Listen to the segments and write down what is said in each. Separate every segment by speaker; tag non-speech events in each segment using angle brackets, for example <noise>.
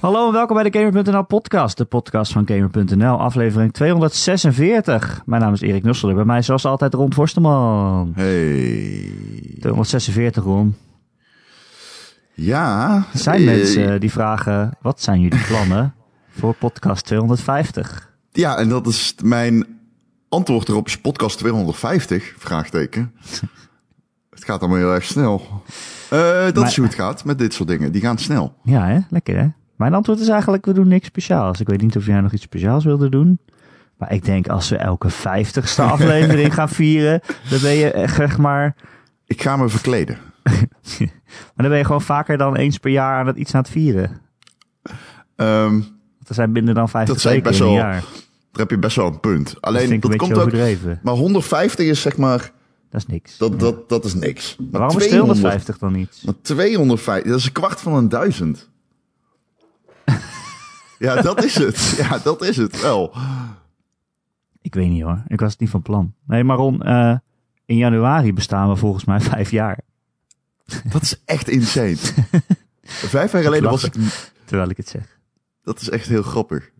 Speaker 1: Hallo en welkom bij de Gamer.nl podcast, de podcast van Gamer.nl, aflevering 246. Mijn naam is Erik Nussel en bij mij zoals altijd Ron Forsterman.
Speaker 2: Hey.
Speaker 1: 246 Ron.
Speaker 2: Ja.
Speaker 1: Er zijn
Speaker 2: eh,
Speaker 1: mensen die vragen, wat zijn
Speaker 2: <laughs>
Speaker 1: jullie plannen voor podcast 250?
Speaker 2: Ja, en dat is mijn antwoord erop is podcast 250,
Speaker 1: <laughs>
Speaker 2: vraagteken. het gaat allemaal heel erg snel. Eh, dat
Speaker 1: Maar-
Speaker 2: is hoe het gaat met dit soort dingen. Die gaan snel.
Speaker 1: Ja hè, lekker hè? Mijn antwoord is eigenlijk, we doen niks speciaals. Ik weet niet of jij nog iets speciaals wilde doen. Maar ik denk, als we elke
Speaker 2: <laughs>
Speaker 1: 50ste aflevering gaan vieren, dan ben je echt, zeg maar...
Speaker 2: Ik ga me verkleden.
Speaker 1: Maar dan ben je gewoon vaker dan eens per jaar aan het iets aan het vieren.
Speaker 2: Ehm,
Speaker 1: Want er zijn minder dan 50
Speaker 2: Dat zei ik
Speaker 1: weken
Speaker 2: best
Speaker 1: in een
Speaker 2: wel.
Speaker 1: jaar.
Speaker 2: daar heb je best wel een punt.
Speaker 1: Dat
Speaker 2: Alleen
Speaker 1: vind ik
Speaker 2: dat,
Speaker 1: een beetje
Speaker 2: komt ook.
Speaker 1: overdreven.
Speaker 2: Maar 150 is zeg maar.
Speaker 1: Dat is niks.
Speaker 2: Dat, dat, dat is niks. Maar
Speaker 1: Waarom is 250 dan niet?
Speaker 2: Maar 250, dat is een kwart van
Speaker 1: <laughs>
Speaker 2: een duizend. ja, dat is het. Ja, dat is het wel.
Speaker 1: Ik weet niet hoor. Ik was het niet van plan. Nee, maar Ron, eh, in januari bestaan we volgens mij <laughs> vijf jaar.
Speaker 2: Dat is echt insane. <laughs> Vijf jaar geleden was ik...
Speaker 1: Terwijl ik het zeg.
Speaker 2: Dat is echt heel grappig.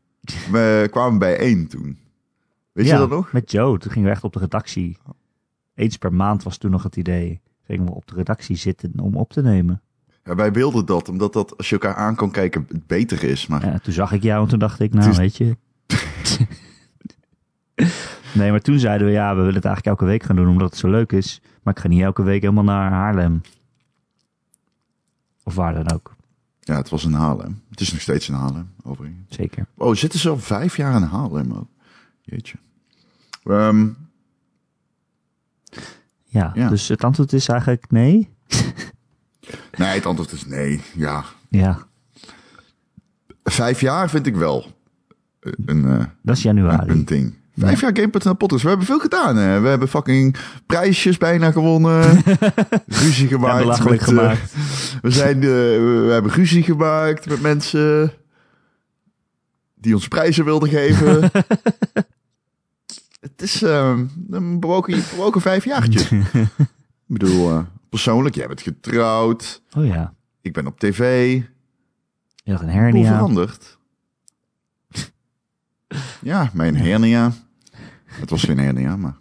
Speaker 2: We kwamen bij één toen. Weet
Speaker 1: Ja,
Speaker 2: je dat nog?
Speaker 1: Met Joe. Toen gingen we echt op de redactie. Eens per maand was toen nog het idee. Gingen we op de redactie zitten om op te nemen.
Speaker 2: Ja, wij wilden dat, omdat dat als je elkaar aan kan kijken het beter is. Maar
Speaker 1: Ja, toen zag ik jou en toen dacht ik, nou
Speaker 2: Het is-
Speaker 1: weet je. <laughs> nee, maar toen zeiden we, ja, we willen het eigenlijk elke week gaan doen omdat het zo leuk is. Maar ik ga niet elke week helemaal naar Haarlem. Of waar dan ook,
Speaker 2: ja, het was in Haarlem. Het is nog steeds in Haarlem, overigens.
Speaker 1: zeker.
Speaker 2: Oh, zitten ze al vijf jaar in Haarlem ook? Jeetje. Ehm,
Speaker 1: Ja,
Speaker 2: Ja.
Speaker 1: dus het antwoord is eigenlijk nee.
Speaker 2: nee, het antwoord is nee. Ja,
Speaker 1: Ja,
Speaker 2: vijf jaar vind ik wel een, eh,
Speaker 1: dat is januari.
Speaker 2: een ding. Vijf jaar Game.nl podcast. We hebben veel gedaan. Hè. We hebben fucking prijsjes bijna gewonnen.
Speaker 1: <laughs>
Speaker 2: ruzie
Speaker 1: Ja,
Speaker 2: gemaakt.
Speaker 1: belachelijk
Speaker 2: met, eh,
Speaker 1: gemaakt.
Speaker 2: we, zijn, eh, we hebben ruzie gemaakt met mensen die ons prijzen wilden geven.
Speaker 1: <laughs>
Speaker 2: Het is ehm, een bewoken, bewoken vijf
Speaker 1: <laughs>
Speaker 2: jaartje. Ik bedoel, eh, persoonlijk, jij bent getrouwd.
Speaker 1: Oh ja,
Speaker 2: Ik ben op tv.
Speaker 1: je had een
Speaker 2: Hoe
Speaker 1: hernia.
Speaker 2: veranderd? <laughs> Ja, mijn hernia. Het was geen hernia, maar...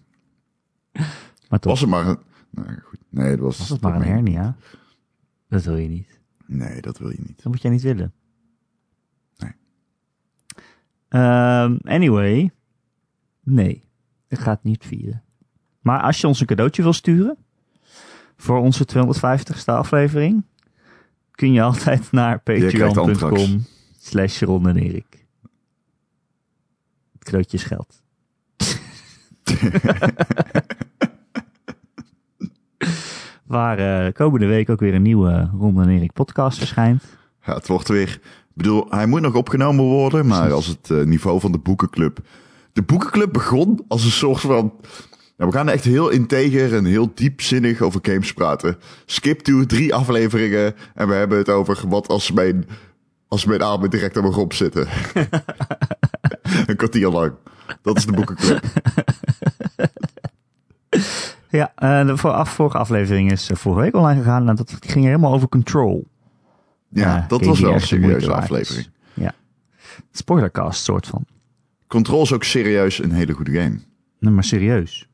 Speaker 1: Maar toch, was,
Speaker 2: Was het maar een... Nee, goed. nee het was...
Speaker 1: het maar een hernia? Dat wil je niet.
Speaker 2: Nee, dat wil je niet.
Speaker 1: Dat moet jij niet willen.
Speaker 2: Nee.
Speaker 1: Ehm, anyway. Nee. Ik ga het niet vieren. Maar als je ons een cadeautje wil sturen. Voor onze 250ste aflevering. Kun je altijd naar
Speaker 2: krijgt anthrax.
Speaker 1: patreon.com. Slash Ron en Erik. Het cadeautje is geld. <laughs> Waar eh, komende week ook weer een nieuwe Ron en Erik podcast verschijnt.
Speaker 2: Ja, het wordt weer... Ik bedoel, hij moet nog opgenomen worden, maar als het eh, niveau van de boekenclub... De boekenclub begon als een soort van... Nou, we gaan echt heel integer en heel diepzinnig over games praten. Skip to drie afleveringen en we hebben het over wat als mijn, als mijn armen direct op mijn romp zitten. een kwartier lang. Dat is de boekenclub.
Speaker 1: Ja, eh, de voor- af- vorige aflevering is eh, vorige week online gegaan. En dat die ging helemaal over control.
Speaker 2: Ja,
Speaker 1: Eh,
Speaker 2: dat
Speaker 1: die
Speaker 2: was wel een
Speaker 1: echt de moeite
Speaker 2: serieuze
Speaker 1: waard is.
Speaker 2: aflevering.
Speaker 1: Ja. Spoilercast soort van.
Speaker 2: Control is ook serieus een hele goede game.
Speaker 1: Nee, maar
Speaker 2: <laughs>
Speaker 1: serieus.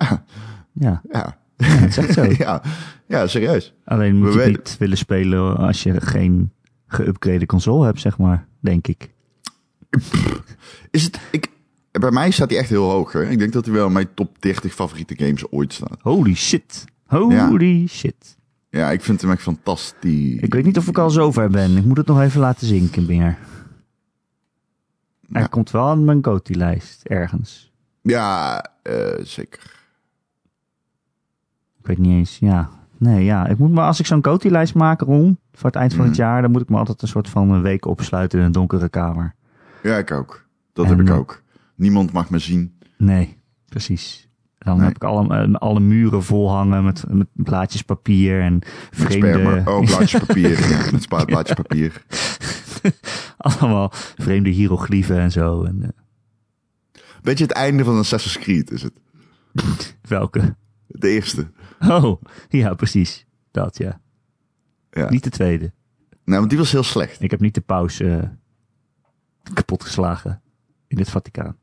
Speaker 1: Ja,
Speaker 2: Ja,
Speaker 1: ja het is echt zo.
Speaker 2: <laughs> ja, ja serieus.
Speaker 1: Alleen moet
Speaker 2: We
Speaker 1: je het
Speaker 2: weten-
Speaker 1: niet willen spelen als je geen geüpgrade console hebt, zeg maar. Denk ik.
Speaker 2: Is het, ik, bij mij staat hij echt heel hoog. Hè? Ik denk dat hij wel in mijn top 30 favoriete games ooit staat.
Speaker 1: Holy shit. Holy shit.
Speaker 2: Ja, ik vind hem echt fantastisch.
Speaker 1: Ik weet niet of ik al zover ben. Ik moet het nog even laten zinken meer. Hij
Speaker 2: Ja.
Speaker 1: komt wel aan mijn GOTY-lijst ergens.
Speaker 2: Ja, eh, zeker.
Speaker 1: Ik weet niet eens, ja. Nee, ja. Ik moet maar, als ik zo'n GOTY-lijst maak, Ron, voor het eind van
Speaker 2: Mm.
Speaker 1: het jaar, dan moet ik me altijd een soort van een week opsluiten in een donkere kamer.
Speaker 2: Ja, ik ook. Dat
Speaker 1: En-
Speaker 2: heb ik ook. Niemand mag me zien.
Speaker 1: Nee, precies. Dan
Speaker 2: Nee.
Speaker 1: heb ik alle, eh, alle muren vol hangen met, met blaadjes papier en
Speaker 2: Met
Speaker 1: <laughs>
Speaker 2: sperma.
Speaker 1: vreemde,
Speaker 2: Oh, blaadje papier. ja, met spa- blaadje papier.
Speaker 1: allemaal vreemde hieroglyphen en zo. En, eh,
Speaker 2: Beetje het einde van Assassin's Creed is het.
Speaker 1: welke?
Speaker 2: De eerste.
Speaker 1: Oh, ja, precies. Dat, ja.
Speaker 2: Ja.
Speaker 1: Niet de tweede.
Speaker 2: Nee, Nou, want die was heel slecht.
Speaker 1: Ik heb niet de paus eh, kapot geslagen in het Vaticaan.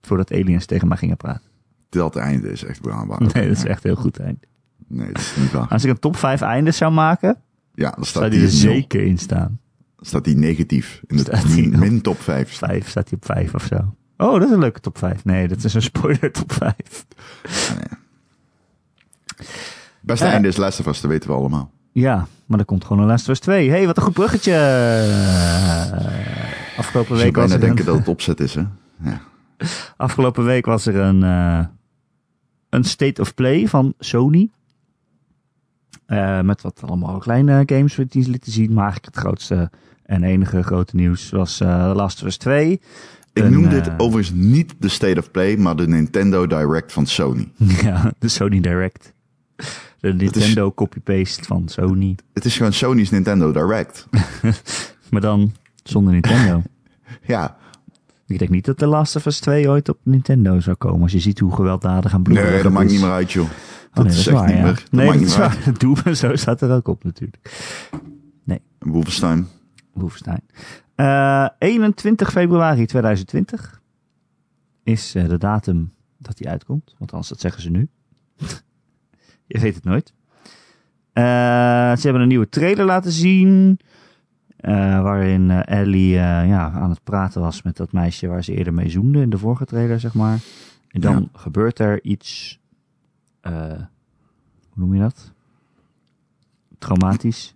Speaker 1: Voordat aliens tegen mij gingen praten.
Speaker 2: Dat einde is echt braanbaar.
Speaker 1: <laughs> Nee, dat is echt heel goed eind.
Speaker 2: Nee, dat is niet waar.
Speaker 1: Als ik een top 5 eindes zou maken,
Speaker 2: Ja, dan staat
Speaker 1: zou
Speaker 2: die,
Speaker 1: die er
Speaker 2: nul.
Speaker 1: zeker in staan.
Speaker 2: Staat die negatief in
Speaker 1: Staat
Speaker 2: de
Speaker 1: die
Speaker 2: min,
Speaker 1: nul.
Speaker 2: min top 5.
Speaker 1: Vijf, staat hij op 5 of zo. Oh, dat is een leuke top 5. Nee, dat is een spoiler top 5.
Speaker 2: Beste
Speaker 1: Eh.
Speaker 2: einde is Last of Us, dat weten we allemaal.
Speaker 1: Ja, maar er komt gewoon een Last of Us 2. hey, wat een goed bruggetje. Afgelopen
Speaker 2: Je zou
Speaker 1: week, was
Speaker 2: bijna
Speaker 1: er
Speaker 2: denken
Speaker 1: een,
Speaker 2: dat het opzet
Speaker 1: <laughs>
Speaker 2: is, hè? Ja.
Speaker 1: afgelopen week was er een, eh, een state of play van Sony. Eh, met wat allemaal kleine eh, games die ze lieten zien. Maar eigenlijk het grootste en enige grote nieuws was eh Last of Us 2.
Speaker 2: Ik
Speaker 1: Een,
Speaker 2: noem
Speaker 1: eh,
Speaker 2: dit overigens niet de State of Play, maar de Nintendo Direct van Sony.
Speaker 1: <laughs> Ja, de Sony Direct. De Nintendo copy-paste van Sony.
Speaker 2: Het is gewoon Sony's Nintendo Direct.
Speaker 1: Maar dan zonder
Speaker 2: <laughs>
Speaker 1: Nintendo.
Speaker 2: Ja.
Speaker 1: Ik denk niet dat The Last of Us 2 ooit op Nintendo zou komen. Als je ziet hoe gewelddadig en bloedig
Speaker 2: Nee,
Speaker 1: het
Speaker 2: dat maakt
Speaker 1: is.
Speaker 2: niet meer uit, joh.
Speaker 1: Oh,
Speaker 2: Dat
Speaker 1: nee,
Speaker 2: is
Speaker 1: dat
Speaker 2: echt
Speaker 1: waar,
Speaker 2: niet
Speaker 1: ja.
Speaker 2: meer. Dat
Speaker 1: nee,
Speaker 2: maakt
Speaker 1: dat
Speaker 2: niet
Speaker 1: is
Speaker 2: meer uit.
Speaker 1: waar. <laughs> Dat doe maar zo staat er ook op natuurlijk.
Speaker 2: Wolfenstein.
Speaker 1: Wolfenstein. Eh 21 februari 2020 is eh, de datum dat die uitkomt. Want anders, dat zeggen ze nu. <laughs> Je weet het nooit. Eh, ze hebben een nieuwe trailer laten zien. eh, waarin eh, Ellie eh, ja, aan het praten was met dat meisje waar ze eerder mee zoende in de vorige trailer, zeg maar. En dan gebeurt er iets. eh, hoe noem je dat? Traumatisch.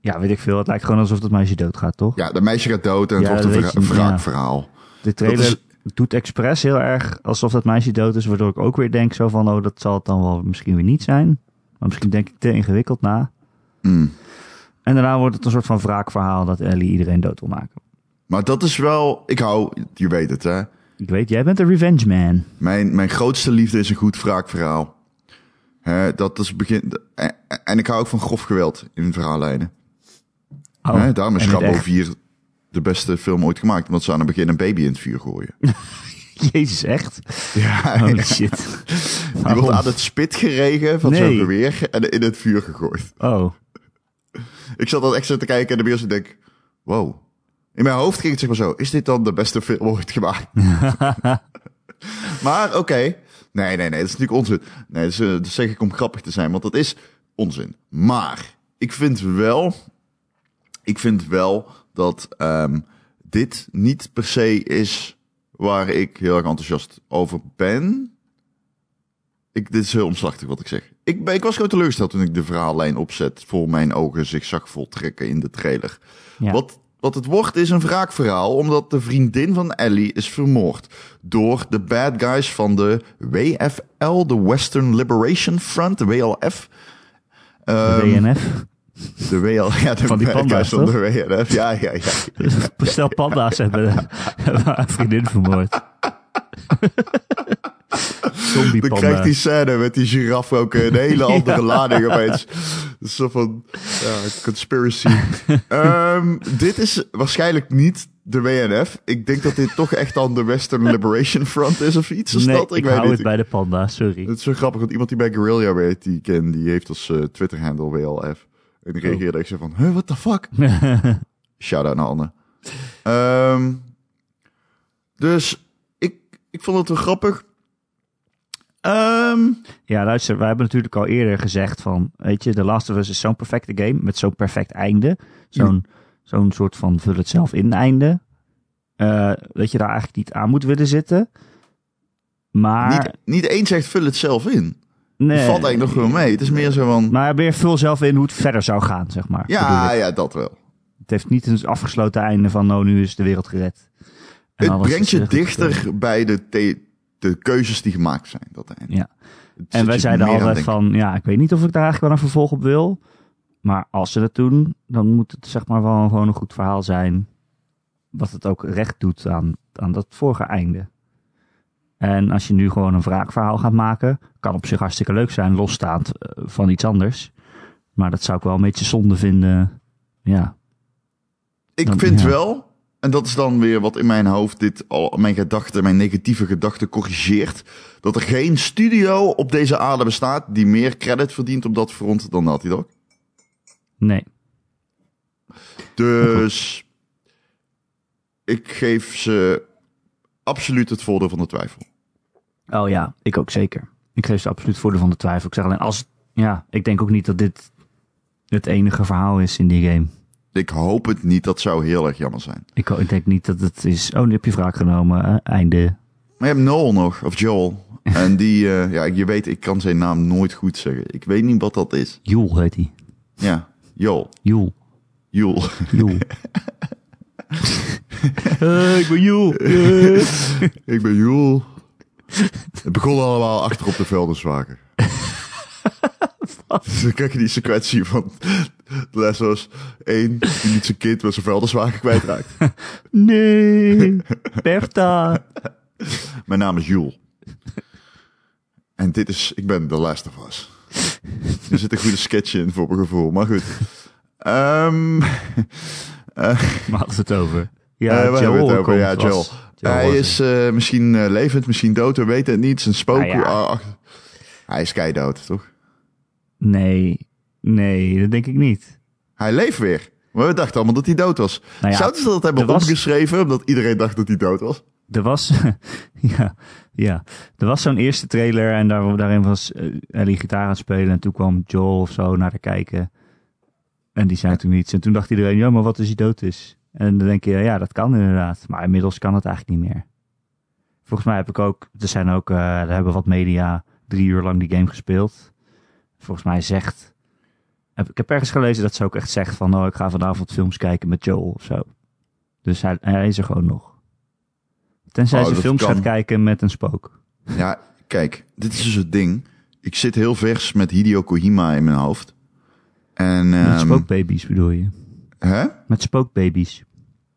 Speaker 1: Ja, weet ik veel. Het lijkt gewoon alsof dat meisje doodgaat, toch?
Speaker 2: Ja, dat meisje gaat dood en het
Speaker 1: Ja,
Speaker 2: wordt
Speaker 1: dat
Speaker 2: een
Speaker 1: weet
Speaker 2: wra-
Speaker 1: je niet,
Speaker 2: wraakverhaal.
Speaker 1: De trailer
Speaker 2: Dat
Speaker 1: doet expres heel erg alsof dat meisje dood is, waardoor ik ook weer denk zo van, oh, dat zal het dan wel misschien weer niet zijn. Maar misschien denk ik te ingewikkeld na.
Speaker 2: Mm.
Speaker 1: En daarna wordt het een soort van wraakverhaal dat Ellie iedereen dood wil maken.
Speaker 2: Maar dat is wel... Ik hou... Je weet het, hè?
Speaker 1: Ik weet, jij bent een revenge man.
Speaker 2: Mijn, mijn grootste liefde is een goed wraakverhaal. Hè, dat is het begin. En, en ik hou ook van grof geweld in verhaallijnen. Hè, daarom is
Speaker 1: Oh. en het
Speaker 2: Rambo
Speaker 1: echt.
Speaker 2: 4 de beste film ooit gemaakt. Omdat ze aan het begin een baby in het vuur gooien.
Speaker 1: Jezus, echt? <laughs>
Speaker 2: <laughs> Ja,
Speaker 1: Holy
Speaker 2: ja.
Speaker 1: shit.
Speaker 2: die wordt
Speaker 1: Waarom?
Speaker 2: aan het spit geregen van zo'n
Speaker 1: Nee.
Speaker 2: geweer en in het vuur gegooid.
Speaker 1: Oh,
Speaker 2: Ik zat dan echt zo te kijken en de bios en denk, wow. In mijn hoofd ging het zeg maar zo, is dit dan de beste film ooit gemaakt? maar oké, nee, nee, nee, dat is natuurlijk onzin. Nee, dat, is, eh, dat zeg ik om grappig te zijn, want dat is onzin. Maar ik vind wel, ik vind wel dat ehm, dit niet per se is waar ik heel erg enthousiast over ben. Ik, dit is heel omslachtig wat ik zeg. Ik, ben, ik was gewoon teleurgesteld toen ik de verhaallijn opzet. Voor mijn ogen zich zag voltrekken in de trailer.
Speaker 1: ja.
Speaker 2: Wat, wat het wordt is een wraakverhaal. Omdat de vriendin van Ellie is vermoord. Door de bad guys van de WFL. De Western Liberation Front. De WLF.
Speaker 1: De
Speaker 2: Ehm,
Speaker 1: WNF.
Speaker 2: de WL, ja, de
Speaker 1: Van die
Speaker 2: bad
Speaker 1: panda's,
Speaker 2: guys van de WLF. Ja, ja, ja.
Speaker 1: <laughs> Bestel panda's hebben, <laughs> hebben haar vriendin
Speaker 2: <laughs>
Speaker 1: vermoord. Zombie
Speaker 2: Dan
Speaker 1: panda.
Speaker 2: krijgt die scène met die giraf ook een
Speaker 1: <laughs>
Speaker 2: hele andere lading opeens. Een soort van ja,
Speaker 1: <laughs>
Speaker 2: conspiracy. Ehm, dit is waarschijnlijk niet de WNF. Ik denk dat dit toch echt dan de Western Liberation Front is of iets. Is
Speaker 1: nee,
Speaker 2: dat?
Speaker 1: ik, hou
Speaker 2: niet.
Speaker 1: het bij de panda, sorry.
Speaker 2: Het is zo grappig, want iemand die bij Guerrilla werkt, die ik ken, die heeft als eh, Twitter-handle WLF. En die
Speaker 1: Oh.
Speaker 2: reageerde echt zo van, huh, what the
Speaker 1: <laughs>
Speaker 2: fuck? Shout-out naar Anne. Ehm, dus ik, ik vond het wel grappig. Ehm,
Speaker 1: Ja, luister, wij hebben natuurlijk al eerder gezegd van, weet je, The Last of Us is zo'n perfecte game met zo'n perfect einde. Zo'n zo'n soort van vul het zelf in einde. Eh, dat je daar eigenlijk niet aan moet willen zitten. Maar,
Speaker 2: niet, niet eens echt vul het zelf in.
Speaker 1: nee,
Speaker 2: dat valt eigenlijk nog wel mee. Het is meer zo van,
Speaker 1: Maar meer vul zelf in hoe het verder zou gaan, zeg maar. bedoel
Speaker 2: ja,
Speaker 1: ik.
Speaker 2: ja, dat wel.
Speaker 1: Het heeft niet een afgesloten einde van, nou, nu is de wereld gered. En
Speaker 2: Het
Speaker 1: alles
Speaker 2: brengt
Speaker 1: is,
Speaker 2: je
Speaker 1: eh, goed gebeurd.
Speaker 2: dichter bij de, the- de keuzes die gemaakt zijn. Dat einde.
Speaker 1: Ja.
Speaker 2: Het zet
Speaker 1: En wij
Speaker 2: je
Speaker 1: zeiden
Speaker 2: meer aan
Speaker 1: altijd
Speaker 2: denken.
Speaker 1: van, ja, ik weet niet of ik daar eigenlijk wel een vervolg op wil. Maar als ze dat doen, dan moet het zeg maar wel gewoon een goed verhaal zijn. Wat het ook recht doet aan, aan dat vorige einde. En als je nu gewoon een wraakverhaal gaat maken, kan op zich hartstikke leuk zijn, losstaand eh, van iets anders. Maar dat zou ik wel een beetje zonde vinden. Ja,
Speaker 2: Ik
Speaker 1: Dan-
Speaker 2: vind
Speaker 1: ja.
Speaker 2: wel, en dat is dan weer wat in mijn hoofd dit al mijn gedachten, mijn negatieve gedachten corrigeert, dat er geen studio op deze aarde bestaat die meer credit verdient op dat front dan Naughty Dog.
Speaker 1: nee. <laughs>
Speaker 2: Dus ik geef ze absoluut het voordeel van de twijfel.
Speaker 1: Oh ja, ik ook zeker. Ik geef ze absoluut voordeel van de twijfel. Ik zeg alleen als. Ja, ik denk ook niet dat dit het enige verhaal is in die game.
Speaker 2: Ik hoop het niet, dat zou heel erg jammer zijn.
Speaker 1: Ik, ik denk niet dat het is. Oh, nu heb je wraak genomen. eh, einde.
Speaker 2: Maar je hebt Noel nog,
Speaker 1: <laughs>
Speaker 2: of Joel. En die, eh, ja, je weet, ik kan zijn naam nooit goed zeggen. Ik weet niet wat dat is.
Speaker 1: Joel heet hij.
Speaker 2: Ja, Joel.
Speaker 1: Joel.
Speaker 2: Joel. <laughs>
Speaker 1: Joel. Eh, ik ben Joel. Eh.
Speaker 2: ik ben Joel. Het begon allemaal achter op de
Speaker 1: <laughs>
Speaker 2: Veldenswager. Dan krijg je die sequentie van Les was één die niet zijn kind met zijn Veldenswager kwijtraakt.
Speaker 1: <laughs> Nee. Bertha.
Speaker 2: Mijn naam is Joel. En dit is, ik ben The Last of Us. Er zit een goede sketch in voor mijn gevoel, maar goed. Ehm, eh,
Speaker 1: We hadden het over.
Speaker 2: Eh,
Speaker 1: Ja,
Speaker 2: waar hebben we
Speaker 1: Joel.
Speaker 2: het over?
Speaker 1: komt,
Speaker 2: Ja,
Speaker 1: was-
Speaker 2: Joel. hij
Speaker 1: was
Speaker 2: is eh, misschien eh, levend, misschien dood, we weten het niet. Zijn spook.
Speaker 1: Nou ja.
Speaker 2: ah, ach. hij is keidood, toch?
Speaker 1: Nee, nee, dat denk ik niet.
Speaker 2: Hij leeft weer. Maar we dachten allemaal dat hij dood was.
Speaker 1: Nou ja,
Speaker 2: Zouden ze dat hebben
Speaker 1: er was-
Speaker 2: opgeschreven, omdat iedereen dacht dat hij dood was?
Speaker 1: Er was, <laughs> ja, ja, er was zo'n eerste trailer en daar, daarin was eh, Ellie gitaar aan het spelen. En toen kwam Joel of zo naar de kijken. En die zei toen iets. En toen dacht iedereen, ja, maar wat als hij dood is? En dan denk je, ja, dat kan inderdaad. Maar inmiddels kan het eigenlijk niet meer. Volgens mij heb ik ook, er zijn ook, eh, er hebben wat media drie uur lang die game gespeeld. Volgens mij zegt, heb, ik heb ergens gelezen dat ze ook echt zegt van, oh, ik ga vanavond films kijken met Joel of zo. Dus hij, hij is er gewoon nog. Tenzij
Speaker 2: Oh,
Speaker 1: ze
Speaker 2: dat
Speaker 1: films
Speaker 2: kan.
Speaker 1: gaat kijken met een spook.
Speaker 2: Ja, kijk, dit is dus het ding. Ik zit heel vers met Hideo Kojima in mijn hoofd. En,
Speaker 1: Met
Speaker 2: ehm,
Speaker 1: spookbabies bedoel je?
Speaker 2: hè?
Speaker 1: Met spookbabies.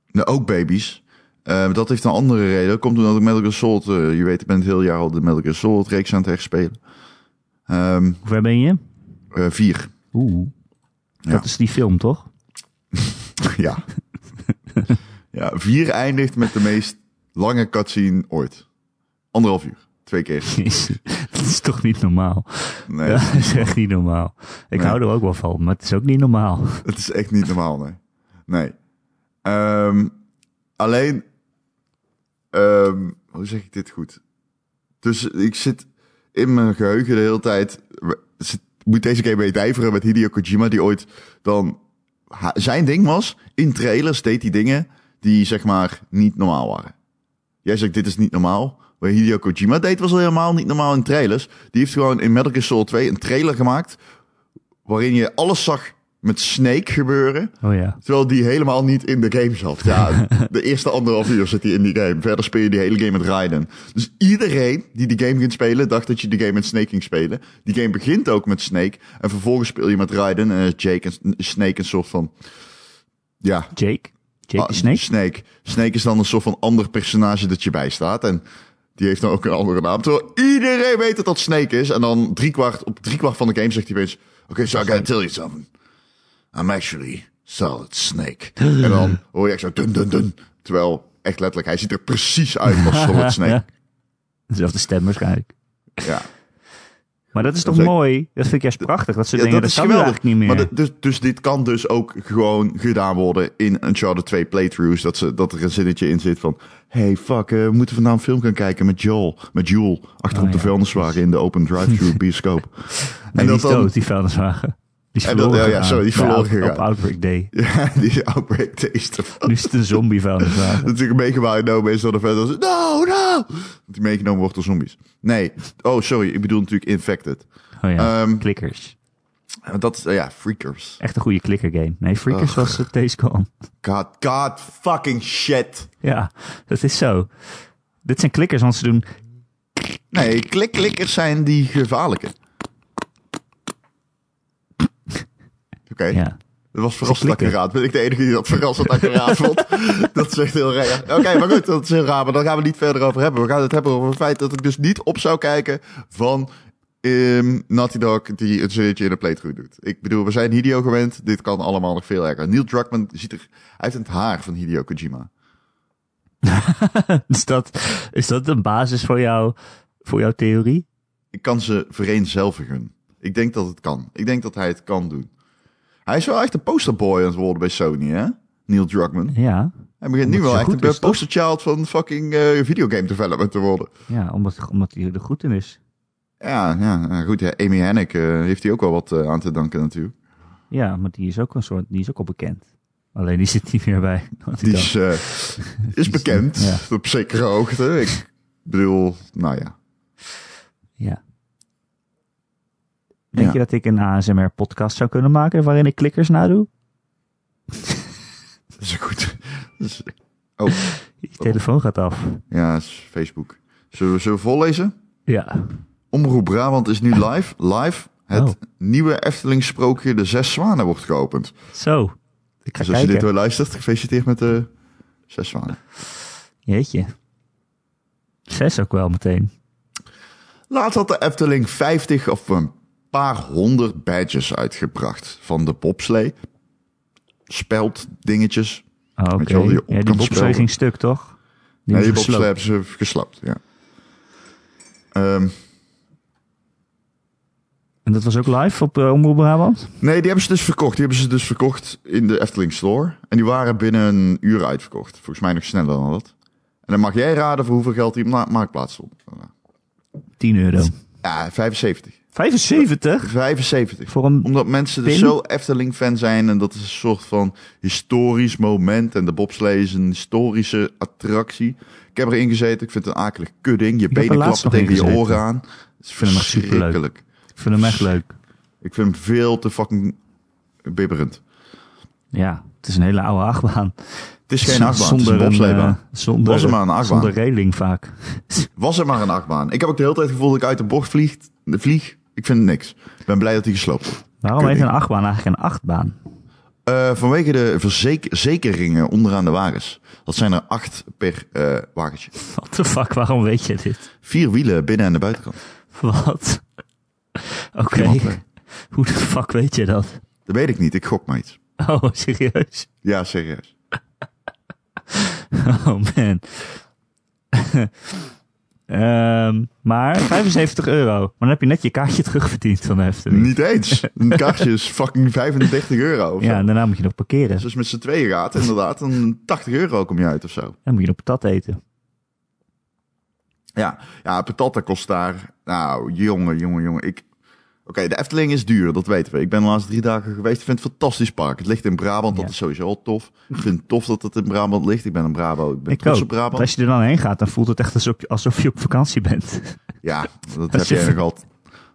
Speaker 2: Nou, ook baby's. Eh, dat heeft een andere reden. Dat komt omdat ik Metal Gear Solid... eh, je weet, ik ben het heel jaar al de Metal Gear Solid reeks aan het herspelen. Ehm
Speaker 1: Hoe ver ben je?
Speaker 2: eh, vier. <laughs>
Speaker 1: Oeh.
Speaker 2: Ja.
Speaker 1: Dat is die film,
Speaker 2: <laughs>
Speaker 1: toch?
Speaker 2: ja.
Speaker 1: <laughs>
Speaker 2: ja. Vier eindigt met de meest lange cutscene ooit. Anderhalf uur. Twee keer.
Speaker 1: Jezus, dat is toch niet normaal?
Speaker 2: Nee,
Speaker 1: <laughs> dat is echt niet normaal. Ik
Speaker 2: Nee.
Speaker 1: hou er ook wel van, maar het is ook niet normaal. <laughs>
Speaker 2: <laughs> Het is echt niet normaal, nee. Nee. Ehm, alleen, ehm, hoe zeg ik dit goed? Dus ik zit in mijn geheugen de hele tijd. we- zit- moet deze game mee dijveren met Hideo Kojima, die ooit dan. ha- Zijn ding was, in trailers deed hij dingen die zeg maar niet normaal waren. Jij zegt, dit is niet normaal. Wat Hideo Kojima deed was al helemaal niet normaal in trailers. Die heeft gewoon in Metal Gear Solid 2 een trailer gemaakt waarin je alles zag met Snake gebeuren,
Speaker 1: Oh ja.
Speaker 2: terwijl die helemaal niet in de game zat. Ja, de eerste anderhalf uur zit hij in die game. Verder speel je die hele game met Raiden. Dus iedereen die die game ging spelen, dacht dat je die game met Snake ging spelen. Die game begint ook met Snake en vervolgens speel je met Raiden en is Jake en Snake een soort van... Ja,
Speaker 1: Jake? Jake
Speaker 2: Ah,
Speaker 1: de Snake?
Speaker 2: Snake. Snake is dan een soort van ander personage dat je bijstaat. En die heeft dan ook een andere naam. Terwijl iedereen weet dat dat Snake is. En dan driekwart, op driekwart van de game zegt hij opeens... Oké, so I gotta tell you something. I'm actually Solid Snake. en dan hoor je echt zo dun dun dun. Terwijl, echt letterlijk, hij ziet er precies uit als Solid Snake.
Speaker 1: Dezelfde stem waarschijnlijk.
Speaker 2: Ja.
Speaker 1: Maar dat is toch
Speaker 2: Dat is echt-
Speaker 1: mooi? Dat vind ik juist prachtig. Dat ze
Speaker 2: Ja,
Speaker 1: denken, dat, kan nu eigenlijk niet meer.
Speaker 2: Maar dit- dus, dus dit kan dus ook gewoon gedaan worden in Uncharted 2 playthroughs. Dat, ze, dat er een zinnetje in zit van... Hey, fuck, eh, we moeten vandaag een film gaan kijken met Joel. Met Joel, achterop
Speaker 1: Oh,
Speaker 2: de
Speaker 1: ja,
Speaker 2: vuilniswagen in de open
Speaker 1: <laughs>
Speaker 2: drive-thru bioscoop.
Speaker 1: en die is
Speaker 2: dat dan-
Speaker 1: dood, die vuilniswagen. Die is
Speaker 2: En dat-
Speaker 1: verloren
Speaker 2: ja, ja,
Speaker 1: gegaan.
Speaker 2: sorry, die is
Speaker 1: Bij
Speaker 2: verloren
Speaker 1: Out-
Speaker 2: gegaan.
Speaker 1: Op Outbreak Day.
Speaker 2: <laughs> ja, die outbreak taste.
Speaker 1: Nu is het een zombie vuilniswagen.
Speaker 2: Dat is natuurlijk meegenomen is door de verder. No, no! Dat die meegenomen wordt door zombies. Nee, oh sorry, ik bedoel natuurlijk infected.
Speaker 1: Oh ja,
Speaker 2: Ehm,
Speaker 1: klikkers.
Speaker 2: Want Dat is, eh, ja, freakers.
Speaker 1: Echt een goede klikkergame. Nee, Freakers was het Dayscom.
Speaker 2: God, god fucking shit.
Speaker 1: Ja, dat is zo. Dit zijn klikkers, want ze doen...
Speaker 2: Nee, klikklikkers zijn die gevaarlijke. Oké,
Speaker 1: Ja.
Speaker 2: dat was verrassend
Speaker 1: Ze klikken.
Speaker 2: accuraat. Ben ik de enige die dat verrassend accuraat
Speaker 1: <laughs>
Speaker 2: vond? Dat is echt heel raar. Oké, maar goed, dat is heel raar. Maar daar gaan we niet verder over hebben. We gaan het hebben over het feit dat ik dus niet op zou kijken van ehm Naughty Dog die het zinnetje in de playthrough doet. Ik bedoel, we zijn Hideo gewend. Dit kan allemaal nog veel erger. Neil Druckmann ziet er uit het haar van Hideo Kojima.
Speaker 1: Is dat, is dat een basis voor, jou, voor jouw theorie?
Speaker 2: Ik kan ze vereenzelvigen. Ik denk dat het kan. Ik denk dat hij het kan doen. Hij is wel echt een posterboy aan het worden bij Sony, hè? Neil Druckmann.
Speaker 1: Ja,
Speaker 2: Hij begint nu
Speaker 1: Omdat
Speaker 2: wel
Speaker 1: hij
Speaker 2: echt
Speaker 1: goed
Speaker 2: een
Speaker 1: is, toch?
Speaker 2: posterchild van fucking eh, videogame development te worden.
Speaker 1: ja omdat, omdat hij er goed in is.
Speaker 2: Ja, ja nou goed. Ja, Amy Hennig eh, heeft hij ook wel wat eh, aan te danken natuurlijk.
Speaker 1: Ja, maar die is ook een soort, die is ook al bekend. Alleen die zit niet meer bij. Want
Speaker 2: Die
Speaker 1: dan-
Speaker 2: is, eh,
Speaker 1: <laughs>
Speaker 2: is bekend
Speaker 1: Ja.
Speaker 2: op zekere hoogte. Ik bedoel, nou ja.
Speaker 1: Ja. Denk
Speaker 2: Ja.
Speaker 1: je dat ik een ASMR-podcast zou kunnen maken waarin ik klikkers nadoe?
Speaker 2: Dat is een goed. dat is- oh,
Speaker 1: Je telefoon gaat af.
Speaker 2: ja, dat is Facebook. Zullen we, zullen we voorlezen?
Speaker 1: Ja.
Speaker 2: Omroep Brabant is nu live. Live. Het
Speaker 1: Oh.
Speaker 2: nieuwe Efteling sprookje De Zes Zwanen wordt geopend.
Speaker 1: Zo. Ik ga
Speaker 2: Dus als je
Speaker 1: kijken.
Speaker 2: dit weer luistert, gefeliciteerd met de Zes Zwanen.
Speaker 1: Jeetje. Zes ook wel meteen.
Speaker 2: Laatst had de Efteling 50 of een paar honderd badges uitgebracht. Van de bobslee, speld dingetjes.
Speaker 1: Oh, Oké.
Speaker 2: Weet je wel, die op
Speaker 1: Ja, die
Speaker 2: kan
Speaker 1: bobslee
Speaker 2: spelen.
Speaker 1: ging stuk, toch?
Speaker 2: nee,
Speaker 1: is
Speaker 2: die bobslee
Speaker 1: gesloopt.
Speaker 2: hebben ze geslapt, ja. Ehm, eh.
Speaker 1: En dat was ook live op eh, Omroep Brabant?
Speaker 2: nee, die hebben ze dus verkocht. Die hebben ze dus verkocht in de Efteling Store. En die waren binnen een uur uitverkocht. Volgens mij nog sneller dan dat. En dan mag jij raden voor hoeveel geld die op ma- marktplaats stond.
Speaker 1: 10 euro.
Speaker 2: Ja, 75.
Speaker 1: 75?
Speaker 2: 75.
Speaker 1: Voor een...
Speaker 2: Omdat mensen dus
Speaker 1: Pin?
Speaker 2: zo Efteling-fan zijn en dat is een soort van historisch moment. En de bobslee is een historische attractie. Ik heb erin gezeten, ik vind het een akelig kudding. Je
Speaker 1: heb er
Speaker 2: benen
Speaker 1: laatst
Speaker 2: klappen
Speaker 1: nog in
Speaker 2: tegen je
Speaker 1: gezeten.
Speaker 2: oren aan. Het is
Speaker 1: vind hem echt superleuk.
Speaker 2: verschrikkelijk.
Speaker 1: Ik vind hem echt leuk.
Speaker 2: Ik vind hem veel te fucking bibberend.
Speaker 1: Ja, het is een hele oude achtbaan.
Speaker 2: Het is geen achtbaan, het is een
Speaker 1: Zonder
Speaker 2: bobsleebaan.
Speaker 1: eh, zonder,
Speaker 2: Was er maar een achtbaan.
Speaker 1: Zonder reling vaak.
Speaker 2: Was er maar een achtbaan. Ik heb ook de hele tijd het gevoel dat ik uit de bocht vlieg. vlieg. Ik vind niks. Ik ben blij dat hij gesloopt wordt.
Speaker 1: Waarom
Speaker 2: Kun
Speaker 1: heet
Speaker 2: ik.
Speaker 1: een achtbaan eigenlijk een achtbaan?
Speaker 2: Eh, vanwege de verzekeringen onderaan de wagens. Dat zijn er acht per eh, wagentje.
Speaker 1: What the fuck, waarom weet je dit?
Speaker 2: Vier wielen binnen en de buitenkant.
Speaker 1: Wat? <laughs> Oké,
Speaker 2: Iemand, eh,
Speaker 1: hoe de fuck weet je dat?
Speaker 2: Dat weet ik niet. Ik gok maar iets.
Speaker 1: Oh, serieus?
Speaker 2: Ja, serieus.
Speaker 1: <laughs> Oh man. Ehm, maar 75 euro. Maar dan heb je net je kaartje terugverdiend van de Efteling.
Speaker 2: Niet eens. Een kaartje is fucking 35 euro. Of
Speaker 1: ja,
Speaker 2: ja.
Speaker 1: en daarna moet je nog parkeren.
Speaker 2: Dus als je met z'n tweeën gaat, inderdaad, dan 80 euro kom je uit of zo.
Speaker 1: Dan moet je nog patat eten.
Speaker 2: Ja, ja patat dat kost daar. Nou, jongen, jongen, jongen. Ik... Oké, de Efteling is duur, dat weten we. Ik ben de laatste drie dagen geweest. Ik vind het een fantastisch park. Het ligt in Brabant, dat
Speaker 1: Ja.
Speaker 2: is sowieso al tof. Ik vind het tof dat het in Brabant ligt. Ik ben een Brabo, ik ben
Speaker 1: Ik
Speaker 2: trots
Speaker 1: ook.
Speaker 2: op
Speaker 1: Want
Speaker 2: Brabant.
Speaker 1: als je er dan heen gaat, dan voelt het echt alsof je, alsof je op vakantie bent.
Speaker 2: Ja, dat heb
Speaker 1: Als je-
Speaker 2: jij nog al.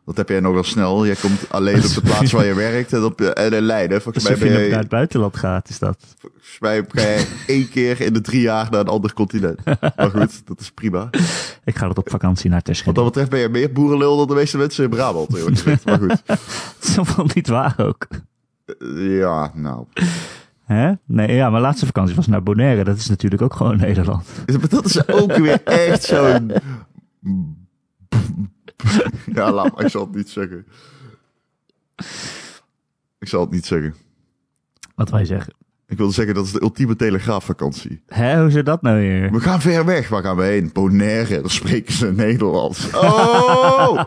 Speaker 2: Dat heb jij nogal snel. Jij komt alleen op de plaats waar je werkt en op en in Leiden. Volgens mij,
Speaker 1: Alsof je
Speaker 2: ben
Speaker 1: naar
Speaker 2: je,
Speaker 1: naar het buitenland gaat, is dat.
Speaker 2: volgens mij ga jij één keer in de drie jaar naar een ander continent. Maar goed, dat is prima.
Speaker 1: Ik ga dat op vakantie naar
Speaker 2: Wat
Speaker 1: Terschelling.
Speaker 2: dat betreft ben je meer boerenlul dan de meeste mensen in Brabant. eerlijk gezegd. Maar goed,
Speaker 1: <laughs> Dat is allemaal niet waar ook.
Speaker 2: ja, nou.
Speaker 1: Hè? Nee, ja, mijn laatste vakantie was naar Bonaire. Dat is natuurlijk ook gewoon Nederland.
Speaker 2: Maar <laughs> Dat is ook weer echt zo'n... Ja, laat maar, ik zal het niet zeggen. Ik zal het niet zeggen.
Speaker 1: Wat wij zeggen.
Speaker 2: Ik wilde zeggen, dat is de ultieme telegraafvakantie.
Speaker 1: Hè, hoe zit dat nou weer? <laughs>
Speaker 2: We gaan ver weg. Waar gaan we heen? Bonaire. Dan spreken ze Nederlands. Oh!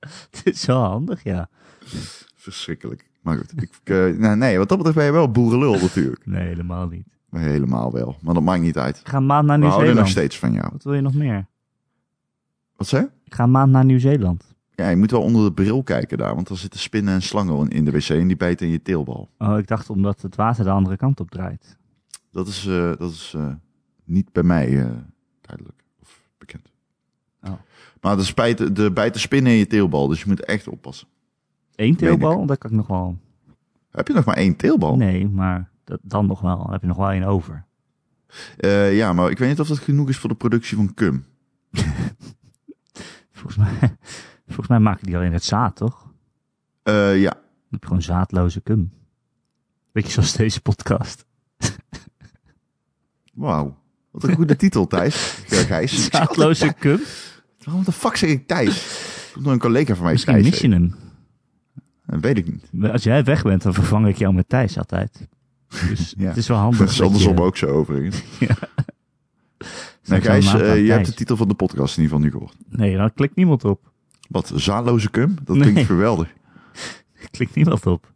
Speaker 1: Het is wel handig, ja.
Speaker 2: Verschrikkelijk. Maar goed. Ik, eh, nou, nee, wat dat betreft ben je wel boerenlul natuurlijk.
Speaker 1: Nee, helemaal niet.
Speaker 2: Maar helemaal wel. Maar dat maakt niet uit.
Speaker 1: Ik ga een maand naar
Speaker 2: We houden nog
Speaker 1: Nieuw-Zeeland.
Speaker 2: steeds van jou.
Speaker 1: Wat wil je nog meer?
Speaker 2: Wat zei je?
Speaker 1: Ik ga een maand naar Nieuw-Zeeland.
Speaker 2: Ja, je moet wel onder de bril kijken daar. Want er zitten spinnen en slangen in de wc. En die bijten in je teelbal.
Speaker 1: Oh, ik dacht omdat het water de andere kant op draait.
Speaker 2: Dat is, eh, dat is eh, niet bij mij eh, duidelijk. Of bekend.
Speaker 1: Oh.
Speaker 2: Maar de, spijt, de bijten spinnen in je teelbal. Dus je moet echt oppassen.
Speaker 1: Eén
Speaker 2: Meen
Speaker 1: teelbal, dat kan ik nog wel.
Speaker 2: Heb je nog maar één teelbal?
Speaker 1: Nee, maar dat, dan nog wel. Dan heb je nog wel één over.
Speaker 2: Eh, ja, maar ik weet niet of dat genoeg is voor de productie van cum.
Speaker 1: Volgens mij, <laughs> volgens mij maken die alleen het zaad, toch?
Speaker 2: Eh, ja.
Speaker 1: Dan heb je gewoon zaadloze cum. Beetje zoals deze
Speaker 2: <laughs>
Speaker 1: podcast.
Speaker 2: Wauw. Wat een
Speaker 1: <laughs>
Speaker 2: goede titel, Thijs. Ja, Gijs.
Speaker 1: Zaadloze cum?
Speaker 2: Waarom de fuck zeg ik Thijs? Komt door een collega van mij.
Speaker 1: Misschien
Speaker 2: Thijs
Speaker 1: mis je
Speaker 2: heet.
Speaker 1: hem.
Speaker 2: Dat weet ik niet.
Speaker 1: Als jij weg bent, dan vervang ik jou met Thijs
Speaker 2: <laughs>
Speaker 1: altijd. Dus
Speaker 2: Ja.
Speaker 1: het is wel
Speaker 2: Dat
Speaker 1: handig.
Speaker 2: is andersom
Speaker 1: je-
Speaker 2: ook zo overigens. Nee,
Speaker 1: Straks
Speaker 2: Gijs,
Speaker 1: allemaal aan
Speaker 2: eh, je hebt
Speaker 1: Thijs.
Speaker 2: de titel van de podcast in ieder geval nu gehoord.
Speaker 1: Nee, dan klikt niemand op.
Speaker 2: Wat, zaadloze cum? Dat
Speaker 1: Nee.
Speaker 2: klinkt geweldig.
Speaker 1: Er klikt niemand op.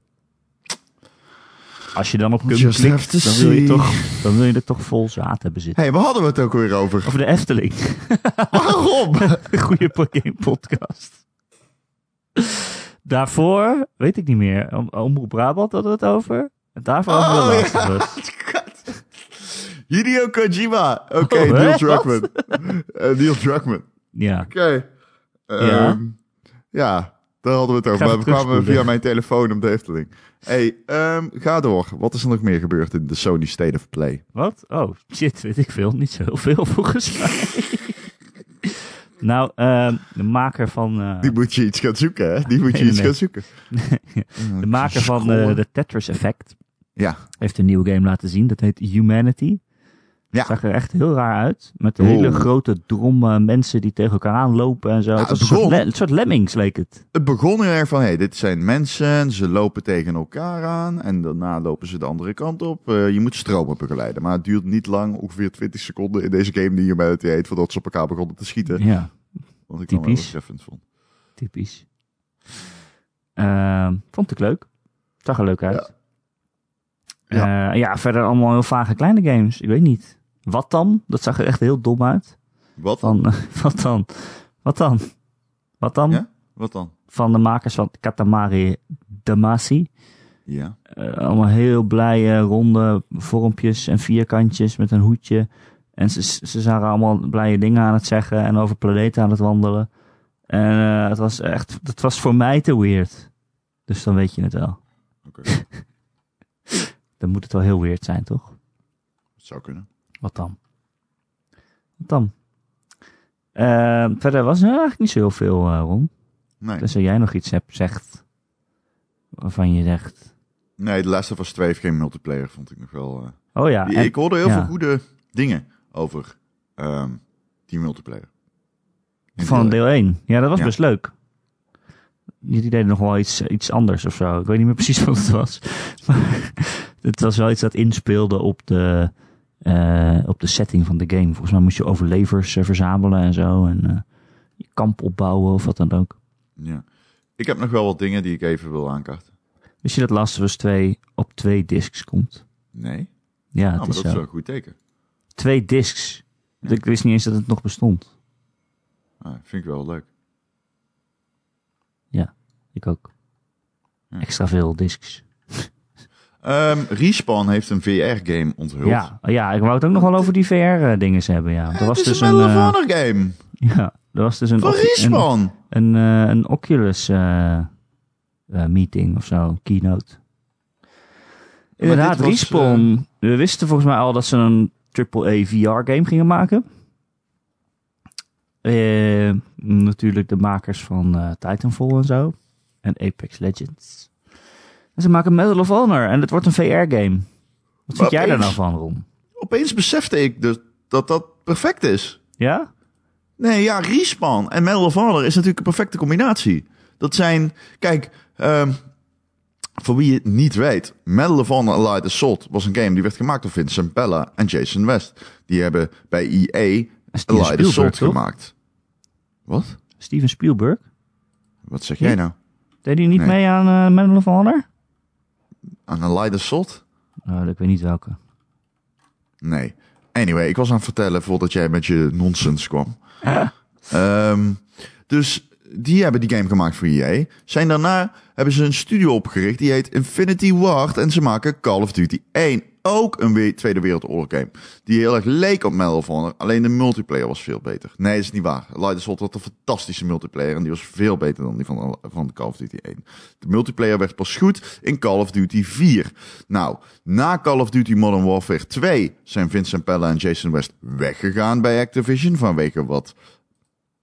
Speaker 1: Als je dan op Cum
Speaker 2: Just
Speaker 1: klikt,
Speaker 2: have to
Speaker 1: dan wil, je
Speaker 2: see.
Speaker 1: toch, dan wil je er toch vol zaad hebben zitten.
Speaker 2: Hé, hey, waar hadden we het ook weer over?
Speaker 1: Of de Efteling. <laughs>
Speaker 2: Waarom?
Speaker 1: Goede game podcast. Daarvoor, weet ik niet meer, Om- Omroep Brabant hadden we het over. En daarvoor hadden we
Speaker 2: Oh,
Speaker 1: wel
Speaker 2: ja.
Speaker 1: lastig was.
Speaker 2: God. Hideo Kojima. Oké,
Speaker 1: Oh, hè?
Speaker 2: Neil Druckmann. Eh, Neil Druckmann.
Speaker 1: Ja.
Speaker 2: Oké. Ehm, ja, daar hadden we het
Speaker 1: ga
Speaker 2: over. Maar we
Speaker 1: even
Speaker 2: kwamen
Speaker 1: terugspoelen.
Speaker 2: via mijn telefoon om de Efteling. hey, ehm, ga door. Wat is er nog meer gebeurd in de Sony State of Play?
Speaker 1: Wat? Oh, shit, weet ik veel. Niet zo heel veel <laughs> volgens mij. nou, ehm, de maker van, eh,
Speaker 2: Die moet je iets gaan zoeken, hè? Die moet je
Speaker 1: Nee,
Speaker 2: iets
Speaker 1: nee.
Speaker 2: gaan zoeken.
Speaker 1: de, maker van eh, de Tetris Effect
Speaker 2: Ja.
Speaker 1: heeft een nieuwe game laten zien. Dat heet Humanity.
Speaker 2: Ja.
Speaker 1: Zag er echt heel raar uit. Met
Speaker 2: Oeh.
Speaker 1: hele grote drommen mensen die tegen elkaar aanlopen en zo. het was een
Speaker 2: het
Speaker 1: soort,
Speaker 2: begon-
Speaker 1: le- een soort lemmings leek het.
Speaker 2: Het begon heel erg van, hey, dit zijn mensen, ze lopen tegen elkaar aan en daarna lopen ze de andere kant op. Eh, je moet stromen begeleiden, maar het duurt niet lang, ongeveer 20 seconden in deze game die Humanity heet, voordat ze op elkaar begonnen te schieten.
Speaker 1: Ja.
Speaker 2: Want ik dan wel
Speaker 1: typisch.
Speaker 2: eens reference vond.
Speaker 1: Typisch. Ehm, vond ik leuk. Zag er leuk uit. Eh, Ja. verder allemaal heel vage kleine games. Ik weet niet. Wat dan? Dat zag er echt heel dom uit.
Speaker 2: Wat?
Speaker 1: Van, <laughs> eh, wat dan? Wat dan? Wat dan?
Speaker 2: Ja? Wat dan?
Speaker 1: Van de makers van Katamari Damacy.
Speaker 2: Ja.
Speaker 1: Eh, allemaal heel blije ronde vormpjes en vierkantjes met een hoedje. En ze, ze zagen allemaal blije dingen aan het zeggen en over planeten aan het wandelen. En eh, het was echt, dat was voor mij te weird. Dus dan weet je het wel.
Speaker 2: Oké,
Speaker 1: <laughs> Dan moet het wel heel weird zijn, toch?
Speaker 2: dat zou kunnen.
Speaker 1: Wat dan? Wat dan? Eh, verder was er eigenlijk niet zo heel veel eh rond.
Speaker 2: Nee.
Speaker 1: Dus als jij nog iets hebt, zegt. Waarvan je zegt.
Speaker 2: nee, de Last of Us 2 heeft geen multiplayer, vond ik nog wel... eh.
Speaker 1: Oh ja,
Speaker 2: Die-
Speaker 1: en-
Speaker 2: ik hoorde heel
Speaker 1: ja.
Speaker 2: veel goede dingen over ehm, die multiplayer. In
Speaker 1: Van
Speaker 2: deel
Speaker 1: deel 1. Ja, dat was
Speaker 2: Ja.
Speaker 1: best leuk. Jullie deden nog wel iets, iets anders of zo. Ik weet niet meer <laughs> precies wat het was. Maar <laughs> het was wel iets dat inspeelde op de, eh, op de setting van de game. Volgens mij moest je overlevers eh, verzamelen en zo. En eh, je kamp opbouwen of wat dan ook.
Speaker 2: één. Ja. Ik heb nog wel wat dingen die ik even wil aankaarten.
Speaker 1: Wist je dat Last of Us 2 op twee discs komt?
Speaker 2: Nee?
Speaker 1: Ja, het
Speaker 2: nou, maar
Speaker 1: is
Speaker 2: dat
Speaker 1: zo.
Speaker 2: is wel een goed teken.
Speaker 1: Twee discs.
Speaker 2: Ja.
Speaker 1: Ik wist niet eens dat het nog bestond.
Speaker 2: Ah, vind ik wel leuk.
Speaker 1: Ik ook.
Speaker 2: Ja.
Speaker 1: Extra veel discs.
Speaker 2: Ehm, Respawn heeft een VR-game onthuld.
Speaker 1: Ja, ja, ik wou het ook nog wel over die VR-dingen hebben. Ja. Er
Speaker 2: Het
Speaker 1: was
Speaker 2: is
Speaker 1: dus
Speaker 2: een
Speaker 1: een.
Speaker 2: Medal
Speaker 1: eh,
Speaker 2: of Honor game
Speaker 1: <laughs> Ja, er was dus een,
Speaker 2: van
Speaker 1: Ocu- een,
Speaker 2: Respawn.
Speaker 1: een, eh, een Oculus eh, eh, meeting of zo, een keynote. Inderdaad,
Speaker 2: dit was, eh,
Speaker 1: Respawn. We wisten volgens mij al dat ze een AAA VR game gingen maken. Eh, natuurlijk de makers van eh, Titanfall en zo. En Apex Legends. En ze maken Medal of Honor en het wordt een VR game. Wat vind
Speaker 2: Wat
Speaker 1: jij daar
Speaker 2: eens?
Speaker 1: nou van, Ron?
Speaker 2: Opeens besefte ik dus dat dat perfect is.
Speaker 1: Ja?
Speaker 2: Nee, ja, Respawn en Medal of Honor is natuurlijk een perfecte combinatie. Dat zijn, kijk, ehm, voor wie het niet weet, Medal of Honor Allied Assault was een game die werd gemaakt door Vincent Pella en Jason West. Die hebben bij EA
Speaker 1: Steven
Speaker 2: Allied
Speaker 1: Spielberg,
Speaker 2: Assault
Speaker 1: toch?
Speaker 2: gemaakt. Wat?
Speaker 1: Steven Spielberg?
Speaker 2: Wat zeg
Speaker 1: Ja.
Speaker 2: jij nou?
Speaker 1: Deed hij niet
Speaker 2: Nee.
Speaker 1: mee aan eh, Medal of Honor?
Speaker 2: Aan Allied Assault?
Speaker 1: Oh, ik weet niet welke.
Speaker 2: Nee. Anyway, ik was aan het vertellen voordat jij met je nonsens kwam. Ehm, dus die hebben die game gemaakt voor EA. Zijn daarna hebben ze een studio opgericht die heet Infinity Ward en ze maken Call of Duty 1. Ook een we- Tweede Wereldoorlog game. Die heel erg leek op Medal of Honor. Alleen de multiplayer was veel beter. Nee, dat is niet waar. Light Assault had een fantastische multiplayer. En die was veel beter dan die van, van Call of Duty 1. De multiplayer werd pas goed in Call of Duty 4. Nou, na Call of Duty Modern Warfare 2 zijn Vincent Pella en Jason West weggegaan bij Activision. Vanwege wat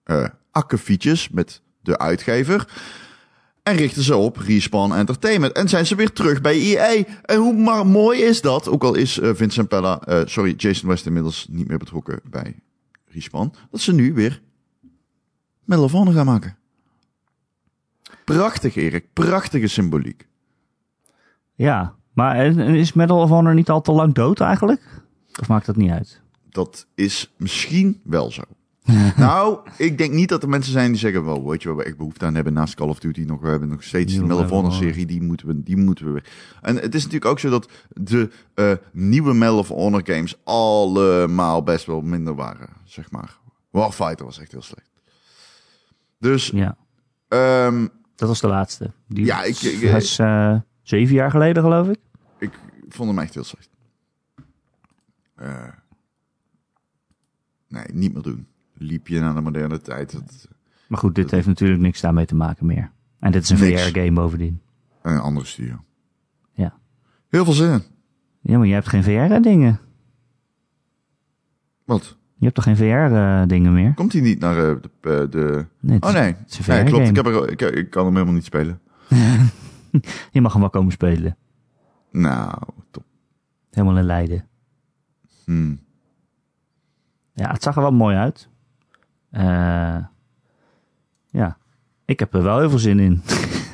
Speaker 2: eh akkefietjes met de uitgever. En richten ze op Respawn Entertainment. En zijn ze weer terug bij EA. En hoe maar mooi is dat? Ook al is eh, Vincent Pella, eh, sorry, Jason West inmiddels niet meer betrokken bij Respawn. Dat ze nu weer Medal of Honor gaan maken. Prachtig, Erik. Prachtige symboliek.
Speaker 1: Ja, maar en- en is Medal of Honor niet al te lang dood eigenlijk? Of maakt dat niet uit?
Speaker 2: Dat is misschien wel zo. nou, ik denk niet dat er mensen zijn die zeggen, wel, weet je waar we echt behoefte aan hebben naast Call of Duty nog, we hebben nog steeds die
Speaker 1: Nieuwe
Speaker 2: Medal of
Speaker 1: Medal of
Speaker 2: Honor serie, die moeten we, die moeten we weer. En het is natuurlijk ook zo dat de eh, nieuwe Medal of Honor games allemaal best wel minder waren, zeg maar. Warfighter was echt heel slecht. Dus,
Speaker 1: Ja,
Speaker 2: ehm,
Speaker 1: dat was de laatste. Die
Speaker 2: Ja, ik- ik-
Speaker 1: hij is eh, zeven jaar geleden, geloof ik.
Speaker 2: Ik vond hem echt heel slecht. Eh, nee, niet meer doen. Liep je naar de moderne tijd. Dat,
Speaker 1: Maar goed, dit heeft natuurlijk niks daarmee te maken meer. En dit is een
Speaker 2: Niks.
Speaker 1: VR-game bovendien.
Speaker 2: een andere studio.
Speaker 1: Ja.
Speaker 2: Heel veel zin in.
Speaker 1: Ja, maar jij hebt geen VR-dingen.
Speaker 2: Wat?
Speaker 1: Je hebt toch geen VR-dingen meer?
Speaker 2: Komt hij niet naar eh, de, eh, de...
Speaker 1: Nee, het
Speaker 2: Oh
Speaker 1: is-
Speaker 2: nee.
Speaker 1: is een
Speaker 2: nee
Speaker 1: VR
Speaker 2: klopt,
Speaker 1: game.
Speaker 2: ik, heb er, ik, ik kan hem helemaal niet spelen.
Speaker 1: Je mag hem wel komen spelen.
Speaker 2: Nou, top.
Speaker 1: Helemaal in Leiden.
Speaker 2: Hm.
Speaker 1: Ja, het zag er wel mooi uit. Eh, ja, ik heb er wel heel veel zin in.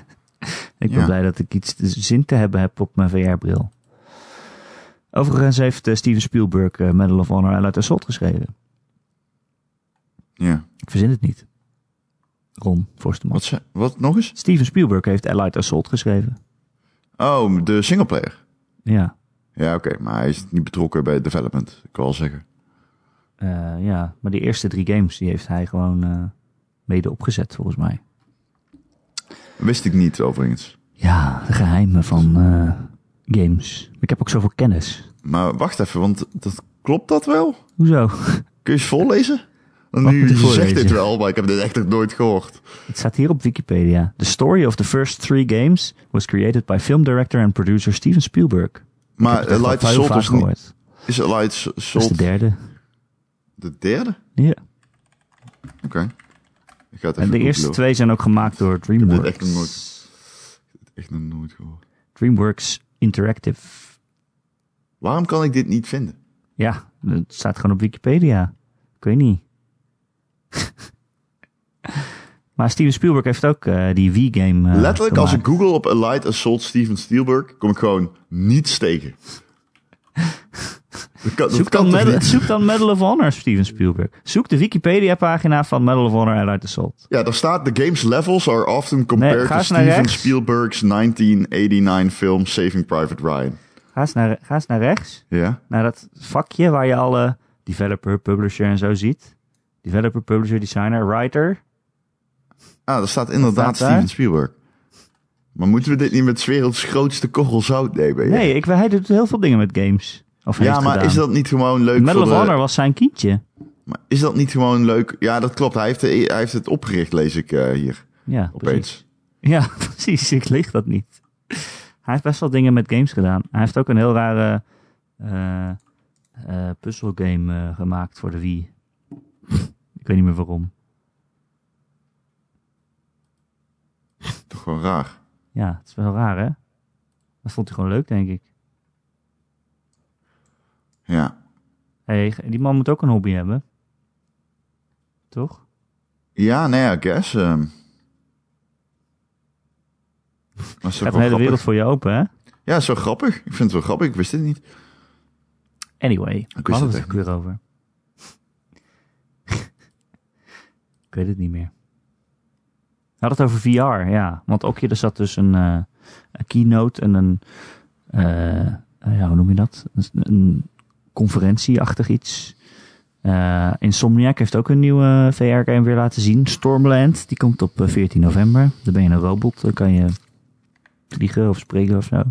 Speaker 1: <laughs> ik ben
Speaker 2: Ja.
Speaker 1: blij dat ik iets te- zin te hebben heb op mijn VR-bril. Overigens heeft eh, Steven Spielberg eh, Medal of Honor en Uit Assault geschreven.
Speaker 2: Ja.
Speaker 1: Ik verzin het niet. Ron Forsterman.
Speaker 2: Wat, ze- wat nog eens?
Speaker 1: Steven Spielberg heeft Allied Assault geschreven.
Speaker 2: Oh, de singleplayer.
Speaker 1: Ja,
Speaker 2: Ja, oké. maar hij is niet betrokken bij development. Ik wil wel zeggen.
Speaker 1: eh, ja, maar die eerste drie games die heeft hij gewoon eh, mede opgezet volgens mij.
Speaker 2: Wist ik niet, overigens.
Speaker 1: Ja, de geheimen van eh, games. Ik heb ook zoveel kennis.
Speaker 2: Maar wacht even, want dat, klopt dat wel?
Speaker 1: Hoezo? <laughs>
Speaker 2: Kun je eens voorlezen? Want
Speaker 1: Wat
Speaker 2: nu
Speaker 1: moet ik
Speaker 2: je zegt
Speaker 1: voorlezen?
Speaker 2: dit wel, maar ik heb dit echt nog nooit gehoord.
Speaker 1: Het staat hier op Wikipedia. The story of the first three games was created by film director and producer Steven Spielberg. Ik heb
Speaker 2: Maar
Speaker 1: het echt
Speaker 2: uh,
Speaker 1: al
Speaker 2: Light
Speaker 1: heel
Speaker 2: Salt
Speaker 1: vaak
Speaker 2: was niet...
Speaker 1: gehoord.
Speaker 2: Is Light S-
Speaker 1: Dat is
Speaker 2: Salt
Speaker 1: de derde.
Speaker 2: de derde?
Speaker 1: Ja.
Speaker 2: Oké. Ik ga het even
Speaker 1: En de eerste
Speaker 2: googlen,
Speaker 1: twee zijn ook gemaakt door
Speaker 2: hoor. Ik heb dit echt nog
Speaker 1: DreamWorks.
Speaker 2: nooit, echt nog nooit gehoord.
Speaker 1: DreamWorks Interactive.
Speaker 2: Waarom kan ik dit niet vinden?
Speaker 1: Ja, het staat gewoon op Wikipedia. Ik weet niet. <laughs> maar Steven Spielberg heeft ook eh, die Wii-game eh,
Speaker 2: Letterlijk, als ik
Speaker 1: gemaakt.
Speaker 2: google op Light Assault Steven Spielberg, kom ik gewoon niets tegen. dat kan, dat
Speaker 1: Zoek
Speaker 2: kan
Speaker 1: dan,
Speaker 2: toch
Speaker 1: Medal,
Speaker 2: niet?
Speaker 1: zoek dan Medal of Honor, Steven Spielberg. Zoek de Wikipedia-pagina van Medal of Honor Allied Assault.
Speaker 2: Ja, daar staat: The game's levels are often compared
Speaker 1: Nee, ga
Speaker 2: to
Speaker 1: eens naar
Speaker 2: Steven
Speaker 1: rechts.
Speaker 2: Spielberg's 1989 film Saving Private Ryan.
Speaker 1: Ga eens, naar, ga eens naar rechts,
Speaker 2: Ja?
Speaker 1: naar dat vakje waar je alle developer, publisher en zo ziet. Developer, publisher, designer, writer.
Speaker 2: Ah, daar staat inderdaad
Speaker 1: staat daar?
Speaker 2: Steven Spielberg. Maar moeten we dit niet met 's werelds grootste korrel zout nemen?
Speaker 1: Nee, ik, hij doet heel veel dingen met games. Of
Speaker 2: ja,
Speaker 1: heeft
Speaker 2: maar
Speaker 1: gedaan.
Speaker 2: is dat niet gewoon leuk
Speaker 1: Medal
Speaker 2: voor
Speaker 1: of
Speaker 2: de...
Speaker 1: Honor was zijn kindje.
Speaker 2: Maar is dat niet gewoon leuk? Ja, dat klopt. Hij heeft, de- hij heeft het opgericht, lees ik eh, hier
Speaker 1: Ja, precies.
Speaker 2: opeens.
Speaker 1: Ja, <laughs> precies. Ik lieg dat niet. Hij heeft best wel dingen met games gedaan. Hij heeft ook een heel rare eh eh, puzzelgame eh, gemaakt voor de Wii. ik weet niet meer waarom.
Speaker 2: Toch wel raar.
Speaker 1: Ja, het is wel raar, hè? Dat vond hij gewoon leuk, denk ik.
Speaker 2: Ja.
Speaker 1: hey, die man moet ook een hobby hebben. Toch?
Speaker 2: Ja, nee, I guess. ehm.
Speaker 1: Je
Speaker 2: Maar zo
Speaker 1: hebt een hele
Speaker 2: grappig.
Speaker 1: wereld voor je open, hè?
Speaker 2: Ja, zo grappig. Ik vind het wel grappig. Ik wist dit niet.
Speaker 1: Anyway,
Speaker 2: het
Speaker 1: waar hadden we
Speaker 2: echt
Speaker 1: het ook weer over? <laughs> ik weet het niet meer. We hadden het over VR, ja. Want ook hier er zat dus een, eh, een keynote en een... eh, eh, ja, hoe noem je dat? Een, een conferentieachtig iets. Eh Insomniac heeft ook een nieuwe VR-game weer laten zien. Stormland, die komt op eh, 14 november. Dan ben je een robot, dan kan je vliegen of spreken of zo.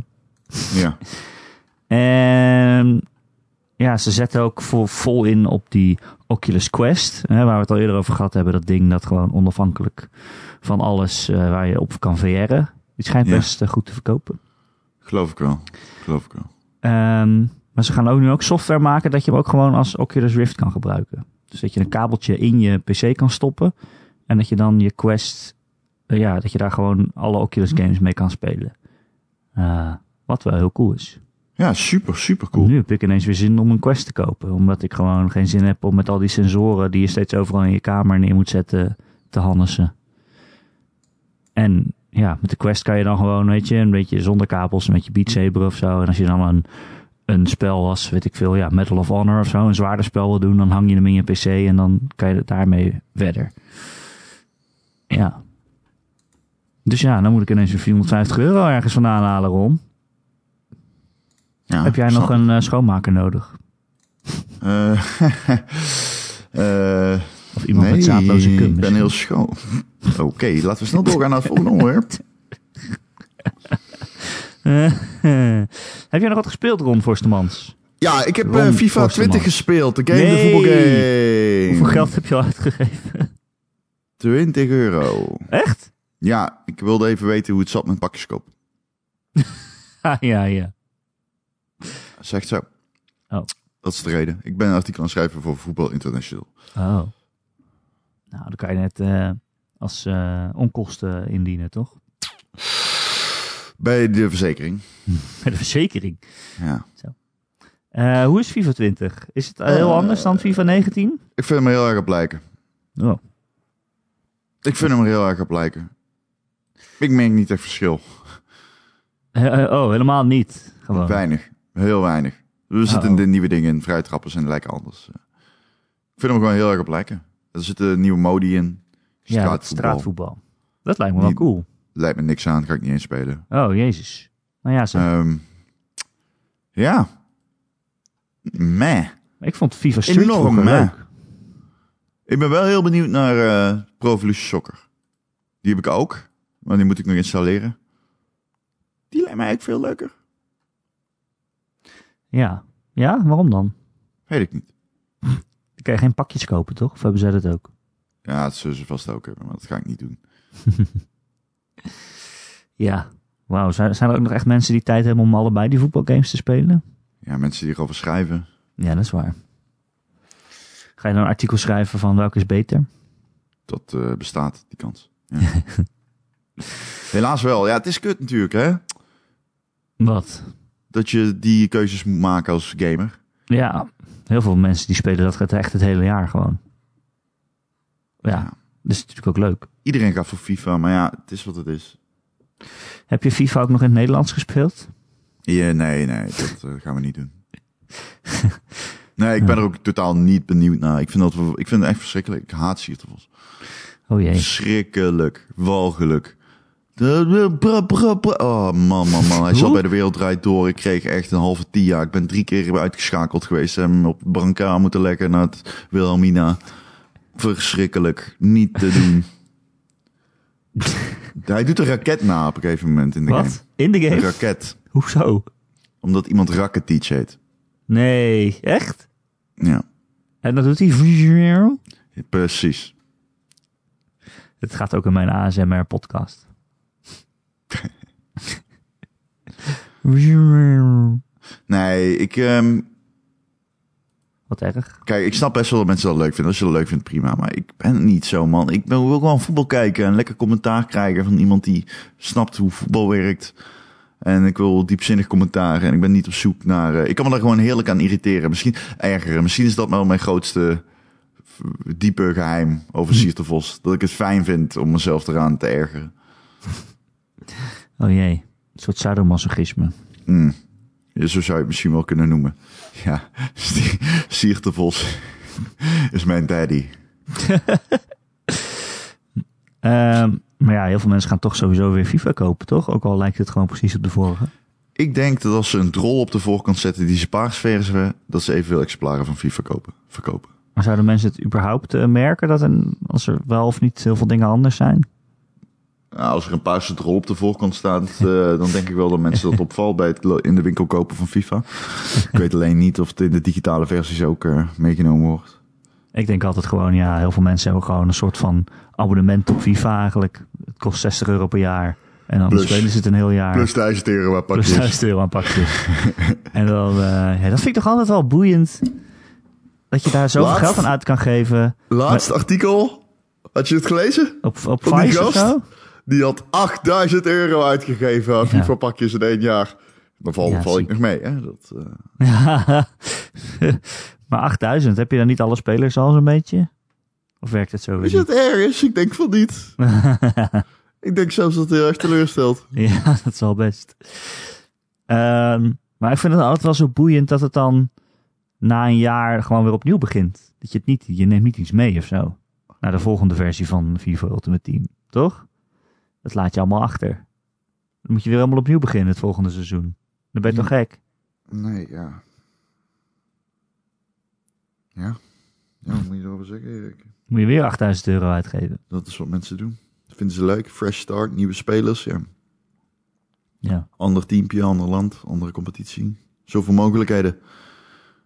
Speaker 2: Ja.
Speaker 1: En Ehm, ja, ze zetten ook vol, vol in op die Oculus Quest. Hè, waar we het al eerder over gehad hebben. Dat ding dat gewoon onafhankelijk van alles eh, waar je op kan VR'en. Die schijnt
Speaker 2: Ja.
Speaker 1: best eh, goed te verkopen.
Speaker 2: Geloof ik wel. Geloof ik wel.
Speaker 1: Ehm, maar ze gaan ook nu ook software maken dat je hem ook gewoon als Oculus Rift kan gebruiken. Dus dat je een kabeltje in je PC kan stoppen. En dat je dan je Quest, eh, ja, dat je daar gewoon alle Oculus games mee kan spelen. Eh, wat wel heel cool is.
Speaker 2: Ja, super, super cool.
Speaker 1: Nu heb ik ineens weer zin om een Quest te kopen. Omdat ik gewoon geen zin heb om met al die sensoren die je steeds overal in je kamer neer moet zetten te hannessen. En ja, met de Quest kan je dan gewoon, weet je, een beetje zonder kabels, een beetje Beat Saber of zo. En als je dan een, een spel als, weet ik veel, ja, Medal of Honor of zo, een zwaarder spel wil doen, dan hang je hem in je PC en dan kan je het daarmee verder. Ja. Dus ja, dan moet ik ineens weer 450 euro ergens vandaan halen, Ron.
Speaker 2: Ja,
Speaker 1: Heb jij
Speaker 2: snap
Speaker 1: nog
Speaker 2: ik.
Speaker 1: een eh, schoonmaker nodig?
Speaker 2: Eh, <laughs> eh,
Speaker 1: Of iemand met zaadloze
Speaker 2: nee,
Speaker 1: cum
Speaker 2: ik ben
Speaker 1: misschien?
Speaker 2: heel schoon. <laughs> Oké, laten we snel doorgaan naar het volgende onderwerp.
Speaker 1: Eh, <laughs> Heb jij nog wat gespeeld, Ron Forstemans?
Speaker 2: Ja, ik heb
Speaker 1: Ron
Speaker 2: eh, FIFA
Speaker 1: Forsterman.
Speaker 2: 20 gespeeld. De game, de
Speaker 1: Nee.
Speaker 2: voetbalgame.
Speaker 1: Hoeveel geld heb je al uitgegeven? <laughs>
Speaker 2: 20 euro.
Speaker 1: Echt?
Speaker 2: Ja, ik wilde even weten hoe het zat met pakjeskoop.
Speaker 1: Ah, ja, ja.
Speaker 2: Zegt zo.
Speaker 1: Oh.
Speaker 2: Dat is de reden. Ik ben een artikel aan het schrijven voor Voetbal International.
Speaker 1: Oh. Nou, dan kan je net eh, als eh, onkosten indienen, toch? <laughs>
Speaker 2: Bij de verzekering.
Speaker 1: Bij de verzekering.
Speaker 2: Ja.
Speaker 1: Eh, hoe is FIFA 20? Is het heel
Speaker 2: Eh,
Speaker 1: anders dan FIFA 19?
Speaker 2: Ik vind hem heel erg op lijken.
Speaker 1: Oh.
Speaker 2: Ik vind hem er heel erg op lijken. Ik merk niet echt verschil.
Speaker 1: Eh, eh, oh, helemaal niet. Gewoon.
Speaker 2: Weinig. Heel weinig. Er zitten
Speaker 1: Oh.
Speaker 2: de nieuwe dingen in. Vrijtrappers en die lijken anders. Ik vind hem gewoon heel erg op lijken. Er zitten nieuwe modi in.
Speaker 1: ja,
Speaker 2: Straatvoetbal.
Speaker 1: dat straatvoetbal. Dat lijkt me wel
Speaker 2: Niet-
Speaker 1: cool.
Speaker 2: Lijkt me niks aan. Ga ik niet eens spelen.
Speaker 1: Oh, jezus. Nou ja, zeg.
Speaker 2: Ehm, ja. Meh.
Speaker 1: ik vond FIFA Street
Speaker 2: enorm,
Speaker 1: vroeger
Speaker 2: hè?
Speaker 1: leuk.
Speaker 2: Ik ben wel heel benieuwd naar eh Pro Evolution Soccer. Die heb ik ook, maar die moet ik nog installeren. Die lijkt mij eigenlijk veel leuker.
Speaker 1: Ja. Ja, waarom dan?
Speaker 2: Weet ik niet.
Speaker 1: Dan kan je geen pakjes kopen, toch? Of hebben zij dat ook?
Speaker 2: Ja, dat zullen ze vast ook hebben, maar dat ga ik niet doen.
Speaker 1: Ja. Wauw, zijn, zijn er ook nog echt mensen die tijd hebben om allebei die voetbalgames te spelen?
Speaker 2: Ja, mensen die erover schrijven.
Speaker 1: Ja, dat is waar. Ga je dan een artikel schrijven van welke is beter?
Speaker 2: Dat eh, bestaat, die kans. Ja. Helaas wel. Ja, het is kut natuurlijk, hè?
Speaker 1: Wat?
Speaker 2: Dat je die keuzes moet maken als gamer.
Speaker 1: Ja, heel veel mensen die spelen dat gaat echt het hele jaar gewoon. Ja,
Speaker 2: Ja.
Speaker 1: dat is natuurlijk ook leuk.
Speaker 2: Iedereen gaat voor FIFA, maar ja, het is wat het is.
Speaker 1: Heb je FIFA ook nog in het Nederlands gespeeld?
Speaker 2: Ja, nee, nee, dat eh, gaan we niet doen. <laughs> Nee, ik ben er ook totaal niet benieuwd naar. Ik vind, dat, ik vind het echt verschrikkelijk. Ik haat siertafels.
Speaker 1: Oh jee.
Speaker 2: Verschrikkelijk. Walgelijk. De- de- bra- bra- bra- Oh man, man, man. Hij zat
Speaker 1: Hoe?
Speaker 2: bij de wereld draait door. Ik kreeg echt een halve tia. Ik ben drie keer uitgeschakeld geweest. En op Branca moeten leggen naar het Wilhelmina. Verschrikkelijk. Niet te
Speaker 1: <laughs>
Speaker 2: doen. Hij doet een raket na op een gegeven moment in de
Speaker 1: Wat? In de
Speaker 2: game. Een
Speaker 1: game?
Speaker 2: raket.
Speaker 1: Hoezo?
Speaker 2: Omdat iemand racket teach heet.
Speaker 1: Nee, echt?
Speaker 2: Ja,
Speaker 1: En dan doet hij...
Speaker 2: precies.
Speaker 1: Het gaat ook in mijn
Speaker 2: <laughs>
Speaker 1: ASMR-podcast.
Speaker 2: Nee, ik, ehm,
Speaker 1: Wat erg.
Speaker 2: kijk, ik snap best wel dat mensen dat leuk vinden. Als je dat leuk vindt, prima. Maar ik ben niet zo, man. Ik ben, wil gewoon voetbal kijken en lekker commentaar krijgen van iemand die snapt hoe voetbal werkt. En ik wil diepzinnig commentaar. En ik ben niet op zoek naar. eh, ik kan me daar gewoon heerlijk aan irriteren. Misschien ergeren. Misschien is dat wel mijn grootste eh, diepe geheim over Sierte Vos. Dat ik het fijn vind om mezelf eraan te ergeren.
Speaker 1: Oh jee. Een soort sadomasochisme.
Speaker 2: Mm. Ja, zo zou je het misschien wel kunnen noemen. Ja, <laughs> Sierte Vos is mijn daddy.
Speaker 1: Ehm, maar ja, heel veel mensen gaan toch sowieso weer FIFA kopen, toch? Ook al lijkt het gewoon precies op de vorige.
Speaker 2: Ik denk dat als ze een drol op de voorkant zetten die ze paars verven, dat ze evenveel exemplaren van FIFA kopen, verkopen.
Speaker 1: Maar zouden mensen het überhaupt eh, merken dat een, als er wel of niet heel veel dingen anders zijn?
Speaker 2: Nou, als er een paarse drol op de voorkant staat, eh, dan denk ik wel dat mensen dat opvalt bij het lo- in de winkel kopen van FIFA. Ik weet alleen niet of het in de digitale versies ook eh, meegenomen wordt.
Speaker 1: Ik denk altijd gewoon, ja, heel veel mensen hebben gewoon een soort van abonnement op FIFA eigenlijk. Het kost 60 euro per jaar. En dan
Speaker 2: Plus.
Speaker 1: spelen ze het een heel jaar.
Speaker 2: Plus 1000 euro waar
Speaker 1: Plus
Speaker 2: pakjes.
Speaker 1: <laughs> 1000 euro aan pakjes. dus. en dan, eh, ja, dat vind ik toch altijd wel boeiend. Dat je daar zoveel
Speaker 2: Laatst.
Speaker 1: geld aan uit kan geven.
Speaker 2: Laatste artikel, had je het gelezen?
Speaker 1: Op, op
Speaker 2: Van die
Speaker 1: Vice of
Speaker 2: gast?
Speaker 1: zo? <laughs>
Speaker 2: Die had 8000 euro uitgegeven aan
Speaker 1: Ja.
Speaker 2: FIFA pakjes in één jaar. Dan val,
Speaker 1: Ja,
Speaker 2: val ik
Speaker 1: ziek.
Speaker 2: nog mee, hè? Dat, eh,
Speaker 1: Ja. maar 8000, heb je dan niet alle spelers al zo'n beetje? Of werkt het zo weer
Speaker 2: Is het erg is? Ik denk van <laughs> niet.
Speaker 1: niet? <laughs>
Speaker 2: Ik denk zelfs dat hij heel erg teleurstelt.
Speaker 1: Ja, dat zal best. Ehm, Maar ik vind het altijd wel zo boeiend dat het dan na een jaar gewoon weer opnieuw begint. Dat je het niet, je neemt niet iets mee of zo. Naar de volgende versie van FIFA Ultimate Team, toch? Dat laat je allemaal achter. Dan moet je weer helemaal opnieuw beginnen het volgende seizoen. Dan ben je toch gek?
Speaker 2: Nee, ja. Ja. Ja, wat moet je erover zeggen, Erik?
Speaker 1: Moet je weer 8000 euro uitgeven.
Speaker 2: Dat is wat mensen doen. Dat vinden ze leuk. Fresh start, nieuwe spelers. Ja.
Speaker 1: Ja.
Speaker 2: Ander teampje, ander land, andere competitie. Zoveel mogelijkheden.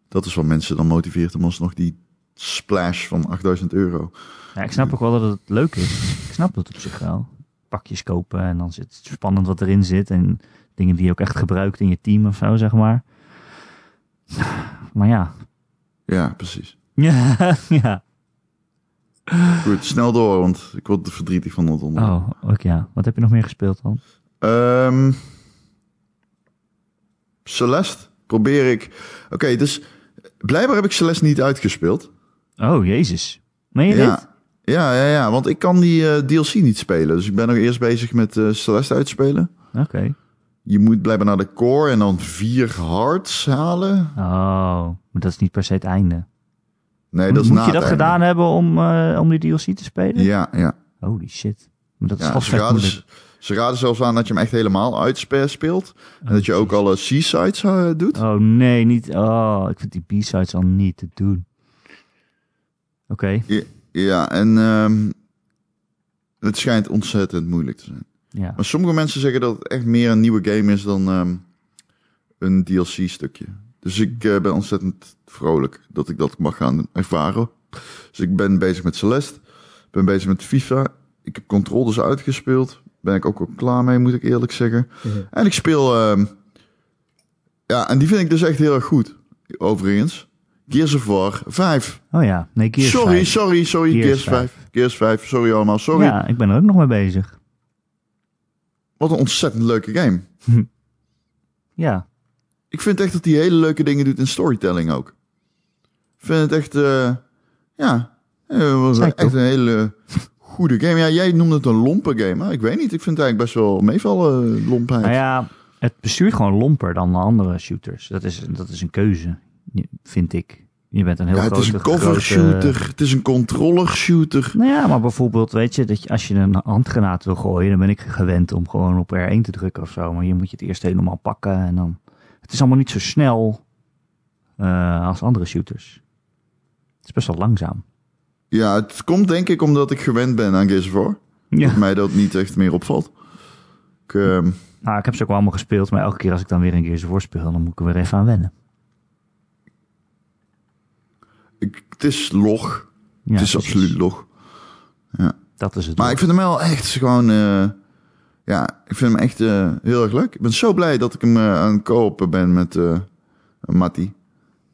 Speaker 2: Dat is wat mensen dan motiveert om alsnog die splash van 8000 euro.
Speaker 1: ja, ik snap ook wel dat het leuk is. Ik snap dat op zich wel. Pakjes kopen en dan zit het spannend wat erin zit. En dingen die je ook echt gebruikt in je team of zo, zeg maar. Maar ja. <laughs>
Speaker 2: Ja, precies.
Speaker 1: Ja, ja.
Speaker 2: Goed, snel door, want ik word er verdrietig van dat onder.
Speaker 1: Oh, ook ja. Wat heb je nog meer gespeeld dan?
Speaker 2: Ehm Celeste probeer ik. Oké, dus blijkbaar heb ik Celeste niet uitgespeeld.
Speaker 1: Oh, jezus. Meen je dit?
Speaker 2: Ja. Ja, ja, ja, want ik kan die eh, DLC niet spelen. Dus ik ben nog eerst bezig met eh, Celeste uitspelen.
Speaker 1: Oké.
Speaker 2: Je moet blijkbaar naar de core en dan vier hearts halen.
Speaker 1: Oh, maar dat is niet per se het einde.
Speaker 2: Nee, dat is
Speaker 1: Moet
Speaker 2: na
Speaker 1: je
Speaker 2: het
Speaker 1: dat
Speaker 2: einde.
Speaker 1: gedaan hebben om, eh, om die DLC te spelen?
Speaker 2: Ja, ja.
Speaker 1: Holy shit. Maar dat is
Speaker 2: ja
Speaker 1: vast
Speaker 2: ze,
Speaker 1: vet
Speaker 2: raden,
Speaker 1: moeilijk.
Speaker 2: ze raden zelfs aan dat je hem echt helemaal uitspeelt. En dat je ook alle seasides eh, doet.
Speaker 1: Oh nee, niet. Oh, ik vind die B-sides al niet te doen. Oké.
Speaker 2: Ja, en ehm, het schijnt ontzettend moeilijk te zijn.
Speaker 1: Ja.
Speaker 2: Maar sommige mensen zeggen dat het echt meer een nieuwe game is dan ehm, een DLC-stukje. Dus ik eh, ben ontzettend vrolijk dat ik dat mag gaan ervaren. Dus ik ben bezig met Celeste, ben bezig met FIFA. Ik heb Control dus uitgespeeld. Ben ik ook wel klaar mee, moet ik eerlijk zeggen. En ik speel... ehm, ja, en die vind ik dus echt heel erg goed, overigens. Gears of War 5.
Speaker 1: Oh ja. Nee, Gears
Speaker 2: sorry,
Speaker 1: 5.
Speaker 2: sorry, sorry,
Speaker 1: Gears
Speaker 2: Gears, 5. Gears 5, sorry allemaal, sorry.
Speaker 1: Ja, ik ben er ook nog mee bezig.
Speaker 2: Wat een ontzettend leuke game.
Speaker 1: Ja.
Speaker 2: Ik vind echt dat hij hele leuke dingen doet in storytelling ook. Ik vind het echt, eh, ja, eh, was
Speaker 1: Kijk,
Speaker 2: echt
Speaker 1: toch?
Speaker 2: een hele goede game. Ja, jij noemde het een lompe game, maar ik weet niet. Ik vind het eigenlijk best wel meevallen, eh, lompheid.
Speaker 1: Nou ja, het bestuurt gewoon lomper dan de andere shooters. Dat is, dat is een keuze, je- vind ik. Je bent een heel
Speaker 2: Ja, het
Speaker 1: grote...
Speaker 2: is een cover
Speaker 1: grote-
Speaker 2: shooter, het is een controller shooter.
Speaker 1: Nou ja, maar bijvoorbeeld, weet je, dat je, als je een handgranaat wil gooien, dan ben ik gewend om gewoon op R1 te drukken of zo. Maar je moet je het eerst helemaal pakken en dan... Het is allemaal niet zo snel eh, als andere shooters. Het is best wel langzaam.
Speaker 2: Ja, het komt denk ik omdat ik gewend ben aan Gears of War. <laughs>
Speaker 1: Ja.
Speaker 2: Dat mij dat niet echt meer opvalt. Ik, ehm,
Speaker 1: Nou, ik heb ze ook wel allemaal gespeeld, maar elke keer als ik dan weer een Gears of War speel, dan moet ik er weer even aan wennen.
Speaker 2: ik, het is log.
Speaker 1: Ja,
Speaker 2: het is
Speaker 1: precies.
Speaker 2: absoluut log.
Speaker 1: Dat is het.
Speaker 2: Maar ik vind hem wel echt gewoon... eh, ja, ik vind hem echt eh, heel erg leuk. Ik ben zo blij dat ik hem eh, aan het kopen ben met eh Matty.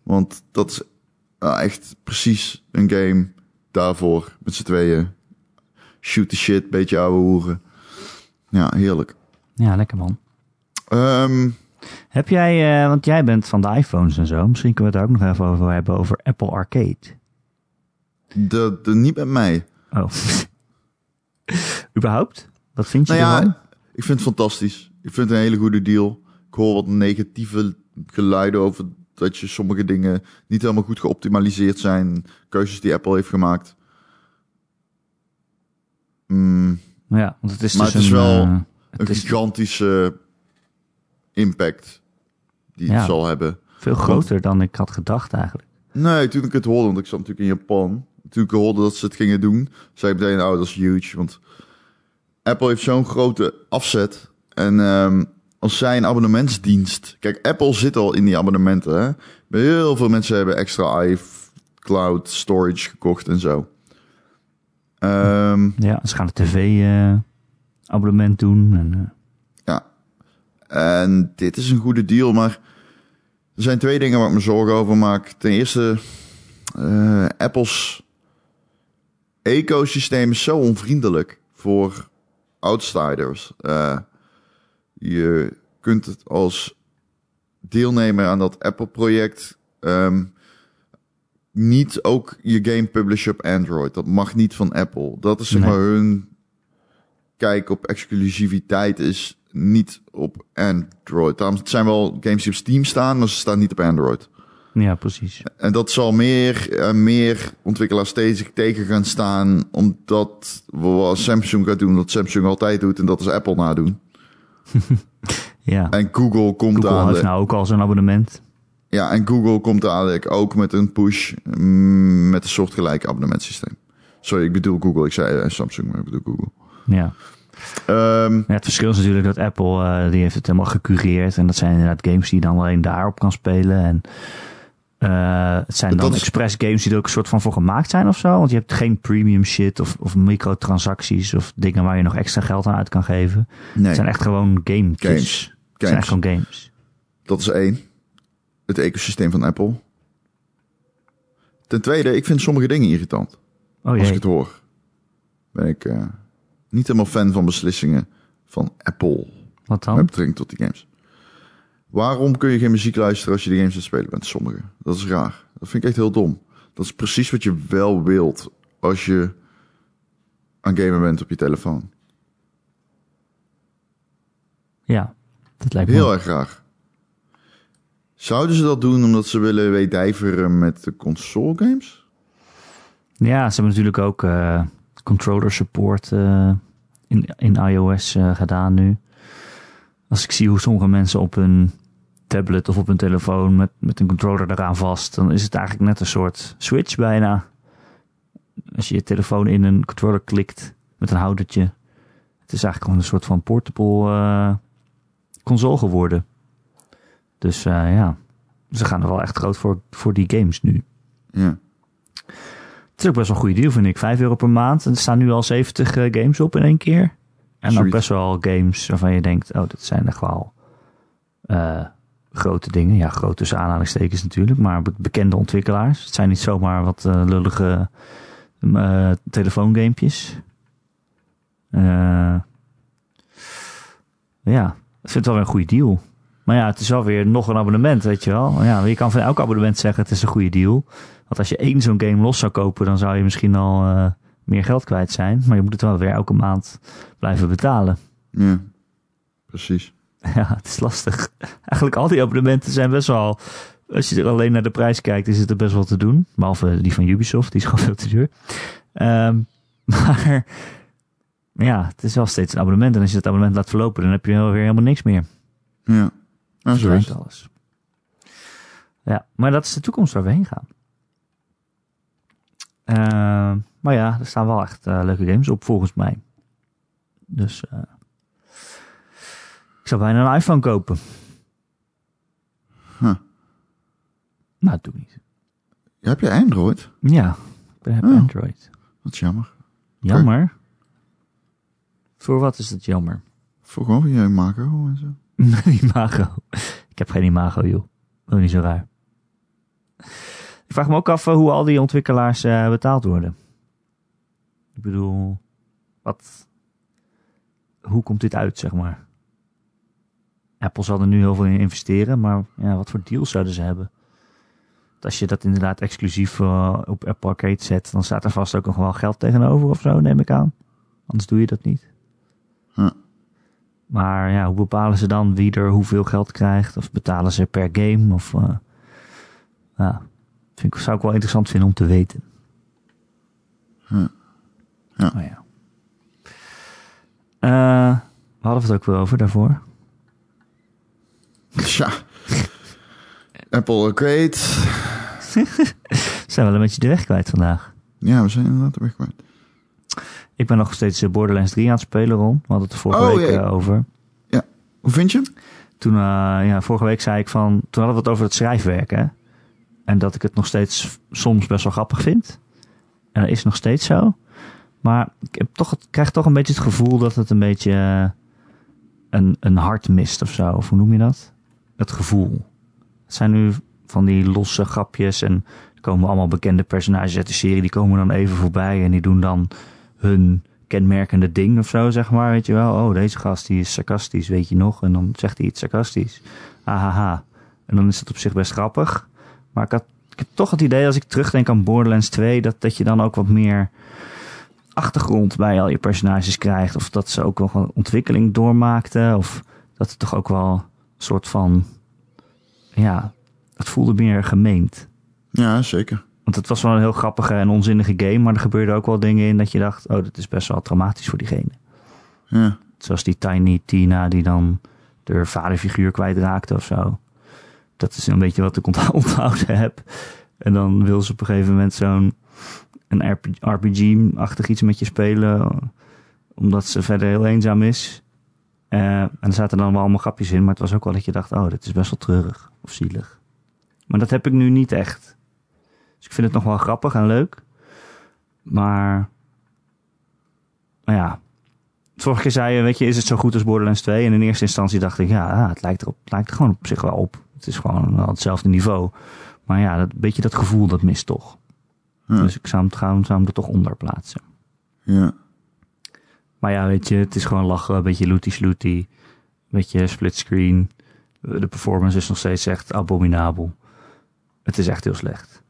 Speaker 2: Want dat is wel echt precies een game daarvoor. Met z'n tweeën. Shoot the shit, beetje ouwe hoeren. Ja, heerlijk.
Speaker 1: Ja, lekker man.
Speaker 2: Ehm,
Speaker 1: Heb jij, eh, want jij bent van de iPhones en zo, misschien kunnen we het daar ook nog even over hebben, over Apple Arcade.
Speaker 2: de, de, niet met mij.
Speaker 1: Oh. <laughs> Überhaupt? Wat vind je
Speaker 2: Nou
Speaker 1: ervan?
Speaker 2: ja, ik vind het fantastisch. Ik vind het een hele goede deal. Ik hoor wat negatieve geluiden over dat je sommige dingen niet helemaal goed geoptimaliseerd zijn. Keuzes die Apple heeft gemaakt. Mm,
Speaker 1: Ja, want het is
Speaker 2: Maar
Speaker 1: dus
Speaker 2: het is
Speaker 1: een,
Speaker 2: wel
Speaker 1: eh,
Speaker 2: een
Speaker 1: het is
Speaker 2: gigantische impact die het
Speaker 1: Ja.
Speaker 2: zal hebben.
Speaker 1: veel groter dan ik had gedacht eigenlijk.
Speaker 2: Nee, toen ik het hoorde, want ik zat natuurlijk in Japan. Toen ik hoorde dat ze het gingen doen, zei ik meteen, oh, dat is huge. Want Apple heeft zo'n grote afzet. En ehm, als zij een abonnementsdienst... Kijk, Apple zit al in die abonnementen. Hè? Maar heel veel mensen hebben extra iCloud storage gekocht en zo. Ehm,
Speaker 1: Ja, ze Dus gaan een tv-abonnement doen. En, eh,
Speaker 2: ja. En dit is een goede deal, maar er zijn twee dingen waar ik me zorgen over maak. Ten eerste, eh, Apple's ecosysteem is zo onvriendelijk voor outsiders. Eh, je kunt het als deelnemer aan dat Apple-project ehm, niet ook je game publishen op Android. Dat mag niet van Apple. Dat is zeg
Speaker 1: Nee.
Speaker 2: maar hun kijk op exclusiviteit is niet op Android. Daarom het zijn wel games die op Steam staan, maar ze staan niet op Android.
Speaker 1: eh, Ja, precies.
Speaker 2: En dat zal meer en meer ontwikkelaars steeds tegen gaan staan, omdat wat Samsung gaat doen, wat Samsung altijd doet, en dat is Apple nadoen.
Speaker 1: Ja.
Speaker 2: En Google komt
Speaker 1: Google
Speaker 2: aan.
Speaker 1: heeft nou ook al zo'n abonnement.
Speaker 2: Ja, en Google komt dadelijk ook met een push mm, met een soortgelijk abonnementsysteem. Sorry, ik bedoel Google. Ik zei eh, Samsung, maar ik bedoel Google.
Speaker 1: Ja.
Speaker 2: Ehm,
Speaker 1: Ja, het verschil is natuurlijk dat Apple, eh, die heeft het helemaal gecureerd. En dat zijn inderdaad games die je dan alleen daarop kan spelen. En eh, het zijn
Speaker 2: Dat
Speaker 1: dan
Speaker 2: is-
Speaker 1: express games die er ook een soort van voor gemaakt zijn of zo. Want je hebt geen premium shit of, of microtransacties of dingen waar je nog extra geld aan uit kan geven.
Speaker 2: nee,
Speaker 1: Het zijn echt gewoon games.
Speaker 2: games.
Speaker 1: Het zijn echt
Speaker 2: games.
Speaker 1: gewoon games.
Speaker 2: Dat is één. Het ecosysteem van Apple. Ten tweede, ik vind sommige dingen irritant.
Speaker 1: Oh
Speaker 2: Als ik
Speaker 1: jee.
Speaker 2: het hoor, ben ik eh, niet helemaal fan van beslissingen van Apple.
Speaker 1: Wat dan?
Speaker 2: Met betrekking tot die games. Waarom kun je geen muziek luisteren als je de games aan het spelen bent? Sommige. Dat is raar. Dat vind ik echt heel dom. Dat is precies wat je wel wilt als je aan het gamen bent op je telefoon.
Speaker 1: Ja, dat lijkt me.
Speaker 2: Heel erg raar. Zouden ze dat doen omdat ze willen weedijveren met de console games?
Speaker 1: Ja, ze hebben natuurlijk ook eh, controller support eh, in, in iOS eh, gedaan nu. Als ik zie hoe sommige mensen op hun tablet of op hun telefoon met, met een controller eraan vast, dan is het eigenlijk net een soort switch bijna. Als je je telefoon in een controller klikt met een houdertje. Het is eigenlijk gewoon een soort van portable eh, console geworden. Dus eh, ja, ze gaan er wel echt groot voor, voor die games nu.
Speaker 2: Ja.
Speaker 1: Het is ook best wel een goede deal, vind ik. 5 euro per maand. En er staan nu al 70 eh, games op in één keer. En ook
Speaker 2: Zoiets.
Speaker 1: best wel games waarvan je denkt, oh, dat zijn echt wel eh, grote dingen. Ja, groot tussen aanhalingstekens natuurlijk, maar be- bekende ontwikkelaars. Het zijn niet zomaar wat eh, lullige eh telefoongamepjes. Eh, ja, ik vind het wel weer een goede deal. Maar ja, het is wel weer nog een abonnement, weet je wel. Ja, je kan van elk abonnement zeggen het is een goede deal. Want als je één zo'n game los zou kopen, dan zou je misschien al eh, meer geld kwijt zijn. Maar je moet het wel weer elke maand blijven betalen. <laughs>
Speaker 2: Ja. Precies.
Speaker 1: Ja, het is lastig. Eigenlijk al die abonnementen zijn best wel... Als je er alleen naar de prijs kijkt, is het er best wel te doen. Behalve die van Ubisoft, die is <laughs> gewoon veel te duur. Ehm, <laughs> maar ja, het is wel steeds een abonnement. En als je dat abonnement laat verlopen, dan heb je wel weer helemaal niks meer.
Speaker 2: Ja. En zo is het.
Speaker 1: Verdwijnt alles. Ja, maar dat is de toekomst waar we heen gaan. Ehm, maar ja, er staan wel echt eh, leuke games op volgens mij. Dus eh, ik zou bijna een iPhone kopen.
Speaker 2: Huh.
Speaker 1: Nou, dat doe ik niet.
Speaker 2: Heb je Android?
Speaker 1: Ja, ik ben- heb
Speaker 2: Oh.
Speaker 1: Android.
Speaker 2: Dat is jammer.
Speaker 1: Jammer. Voor wat is dat jammer?
Speaker 2: Voor gewoon je macro en <laughs> zo.
Speaker 1: <laughs> imago. Ik heb geen imago, joh. Doe niet zo raar. Ik vraag me ook af eh, hoe al die ontwikkelaars eh, betaald worden. Ik bedoel, wat, hoe komt dit uit, zeg maar? Apple zal er nu heel veel in investeren, maar ja, wat voor deals zouden ze hebben? Want Als je dat inderdaad exclusief eh, op Apple Arcade zet, dan staat er vast ook nog wel geld tegenover of zo, neem ik aan. Anders doe je dat niet. Maar ja, hoe bepalen ze dan wie er hoeveel geld krijgt? Of betalen ze per game? Of, eh, ja, vind ik, zou ik wel interessant vinden om te weten.
Speaker 2: Hm. Ja.
Speaker 1: Oh, ja. Eh, we hadden het ook wel over daarvoor.
Speaker 2: Tja. Apple Arcade.
Speaker 1: We zijn wel een beetje de weg kwijt vandaag.
Speaker 2: Ja, we zijn inderdaad de weg kwijt.
Speaker 1: Ik ben nog steeds eh, Borderlands 3 aan het spelen, Ron. We hadden het er vorige
Speaker 2: Oh,
Speaker 1: week
Speaker 2: jee.
Speaker 1: eh, over.
Speaker 2: Hoe vind je hem?
Speaker 1: Toen, eh, ja, vorige week zei ik van... Toen hadden we het over het schrijfwerk, hè. En dat ik het nog steeds soms best wel grappig vind. En dat is nog steeds zo. Maar ik heb toch, het- krijg toch een beetje het gevoel dat het een beetje... eh, een, een hart mist of zo. Of hoe noem je dat? Het gevoel. Het zijn nu van die losse grapjes. En er komen allemaal bekende personages uit de serie. Die komen dan even voorbij. En die doen dan hun kenmerkende ding of zo, zeg maar. Weet je wel, oh, deze gast die is sarcastisch, weet je nog? En dan zegt hij iets sarcastisch. Ahaha. En dan is het op zich best grappig. Maar ik, had, ik heb toch het idee, als ik terugdenk aan Borderlands 2, dat, dat je dan ook wat meer achtergrond bij al je personages krijgt. Of dat ze ook wel gewoon ontwikkeling doormaakten. Of dat het toch ook wel een soort van. Ja, het voelde meer gemeend.
Speaker 2: Ja, zeker.
Speaker 1: Want het was wel een heel grappige en onzinnige game. Maar er gebeurden ook wel dingen in dat je dacht: oh, dat is best wel traumatisch voor diegene.
Speaker 2: Ja.
Speaker 1: Zoals die Tiny Tina die dan haar vaderfiguur kwijtraakte of zo. Dat is een beetje wat ik ontha- <laughs> onthouden heb. En dan wil ze op een gegeven moment zo'n een RP- RPG-achtig iets met je spelen. Omdat ze verder heel eenzaam is. Eh, en er zaten dan wel allemaal grapjes in. Maar het was ook wel dat je dacht, oh, dit is best wel treurig of zielig. Maar dat heb ik nu niet echt. Dus ik vind het nog wel grappig en leuk. Maar, nou ja, Vorige keer zei je, weet je, is het zo goed als Borderlands 2? En in eerste instantie dacht ik, ja, ah, het lijkt er, op, het lijkt er gewoon op zich wel op. Het is gewoon wel hetzelfde niveau. Maar ja, dat beetje dat gevoel, dat mist toch.
Speaker 2: Ja.
Speaker 1: Dus ik zou hem, zou hem- zou hem er toch onder plaatsen.
Speaker 2: ja.
Speaker 1: Maar ja, weet je, het is gewoon lachen. Een beetje looty-slooty. Een beetje splitscreen. Eh, De performance is nog steeds echt abominabel. Het is echt heel slecht.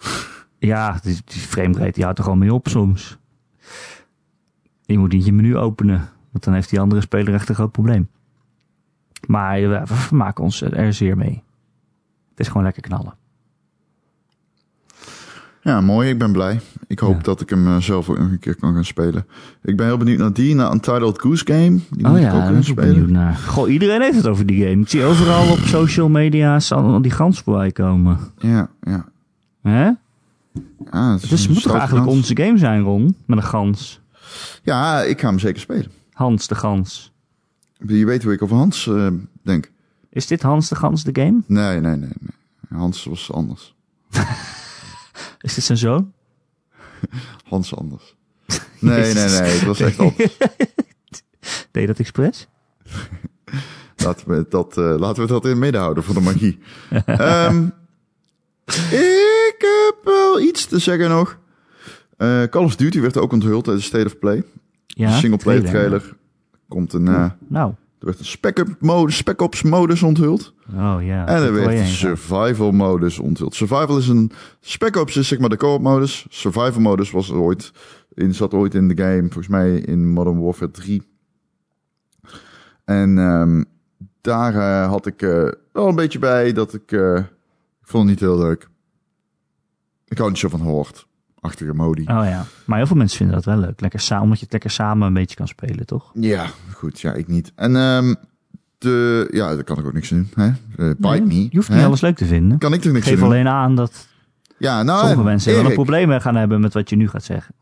Speaker 1: <laughs> ja, die, die framerate die houdt er gewoon mee op soms. Je moet niet je menu openen. Want dan heeft die andere speler echt een groot probleem. Maar eh, we we vermaken ons er zeer mee. Het is gewoon lekker knallen.
Speaker 2: Ja, mooi. Ik ben blij. Ik hoop
Speaker 1: Ja.
Speaker 2: dat ik hem eh, zelf ook nog een keer kan gaan spelen. Ik ben heel benieuwd naar die, naar Untitled Goose Game. Die moet ik ook
Speaker 1: daar
Speaker 2: gaan
Speaker 1: ben ik ook
Speaker 2: spelen.
Speaker 1: benieuwd naar. Goh, iedereen heeft het over die game. Ik zie overal op social media al die gans voorbij komen.
Speaker 2: Ja, ja.
Speaker 1: Hè?
Speaker 2: ja het is
Speaker 1: Dus het moet
Speaker 2: een
Speaker 1: toch
Speaker 2: stoute
Speaker 1: eigenlijk
Speaker 2: kans.
Speaker 1: onze game zijn, Ron? Met een gans.
Speaker 2: Ja, ik ga hem zeker spelen.
Speaker 1: Hans de Gans.
Speaker 2: Je weet hoe ik over Hans eh, denk.
Speaker 1: Is dit Hans de Gans de game?
Speaker 2: Nee, nee, nee, nee. Hans was anders.
Speaker 1: Is dit zijn zoon?
Speaker 2: Hans
Speaker 1: <laughs>
Speaker 2: anders. Nee, nee, nee. Het was echt anders.
Speaker 1: Deed je dat expres?
Speaker 2: Laten we dat, eh, laten we dat in het midden houden voor de
Speaker 1: <laughs>
Speaker 2: magie. Ehm, ik heb wel iets te zeggen nog. Eh, Call of Duty werd ook onthuld tijdens State of Play.
Speaker 1: Ja.
Speaker 2: de singleplayer
Speaker 1: tweede.
Speaker 2: trailer. Komt een, eh,
Speaker 1: Nou.
Speaker 2: er werd een spec-up mode, spec-ops modus onthuld.
Speaker 1: Oh ja.
Speaker 2: En er
Speaker 1: wil
Speaker 2: werd
Speaker 1: je
Speaker 2: een
Speaker 1: heen gaan.
Speaker 2: survival modus onthuld. Survival is een... Spec-ops is zeg maar de co-op modus. Survival modus was er ooit in, zat ooit in de game. Volgens mij in Modern Warfare 3. En ehm, daar eh, had ik eh, wel een beetje bij dat ik... eh, ik vond het niet heel leuk. Ik hou niet zo van Horde-achtige modi.
Speaker 1: Oh ja. Maar heel veel mensen vinden dat wel leuk. Lekker sa- omdat je het lekker samen een beetje kan spelen, toch?
Speaker 2: Ja, goed. Ja, ik niet. En ehm, de... Ja, daar kan ik ook niks aan doen. Hè? Eh, bite
Speaker 1: Nee,
Speaker 2: me.
Speaker 1: Je hoeft
Speaker 2: hè?
Speaker 1: niet alles leuk te vinden.
Speaker 2: Kan ik toch niks aan
Speaker 1: Geef
Speaker 2: doen?
Speaker 1: alleen aan dat
Speaker 2: Ja, nou,
Speaker 1: sommige mensen wel een
Speaker 2: Erik,
Speaker 1: probleem gaan hebben met wat je nu gaat zeggen.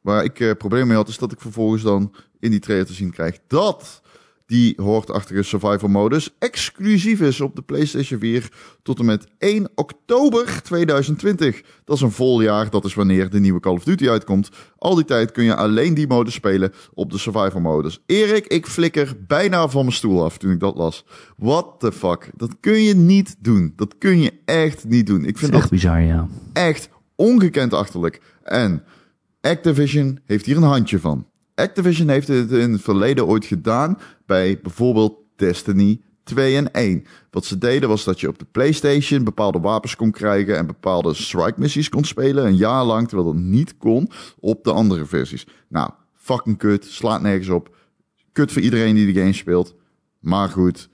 Speaker 2: Waar ik eh probleem mee had, is dat ik vervolgens dan in die trailer te zien krijg dat die hoortachtige survival modus exclusief is op de PlayStation 4 tot en met 1 oktober 2020. Dat is een vol jaar, dat is wanneer de nieuwe Call of Duty uitkomt. Al die tijd kun je alleen die modus spelen op de survival modus. Erik, ik flikker bijna van mijn stoel af toen ik dat las. What the fuck? Dat kun je niet doen. Dat kun je echt niet doen. Ik
Speaker 1: Dat <laughs> is
Speaker 2: vind dat
Speaker 1: echt bizar, ja.
Speaker 2: echt ongekend achterlijk. En Activision heeft hier een handje van. Activision heeft het in het verleden ooit gedaan bij bijvoorbeeld Destiny 2 en 1. Wat ze deden was dat je op de PlayStation bepaalde wapens kon krijgen en bepaalde strike missies kon spelen een jaar lang, terwijl dat niet kon op de andere versies. Nou, fucking kut, slaat nergens op. Kut voor iedereen die de game speelt. Maar goed,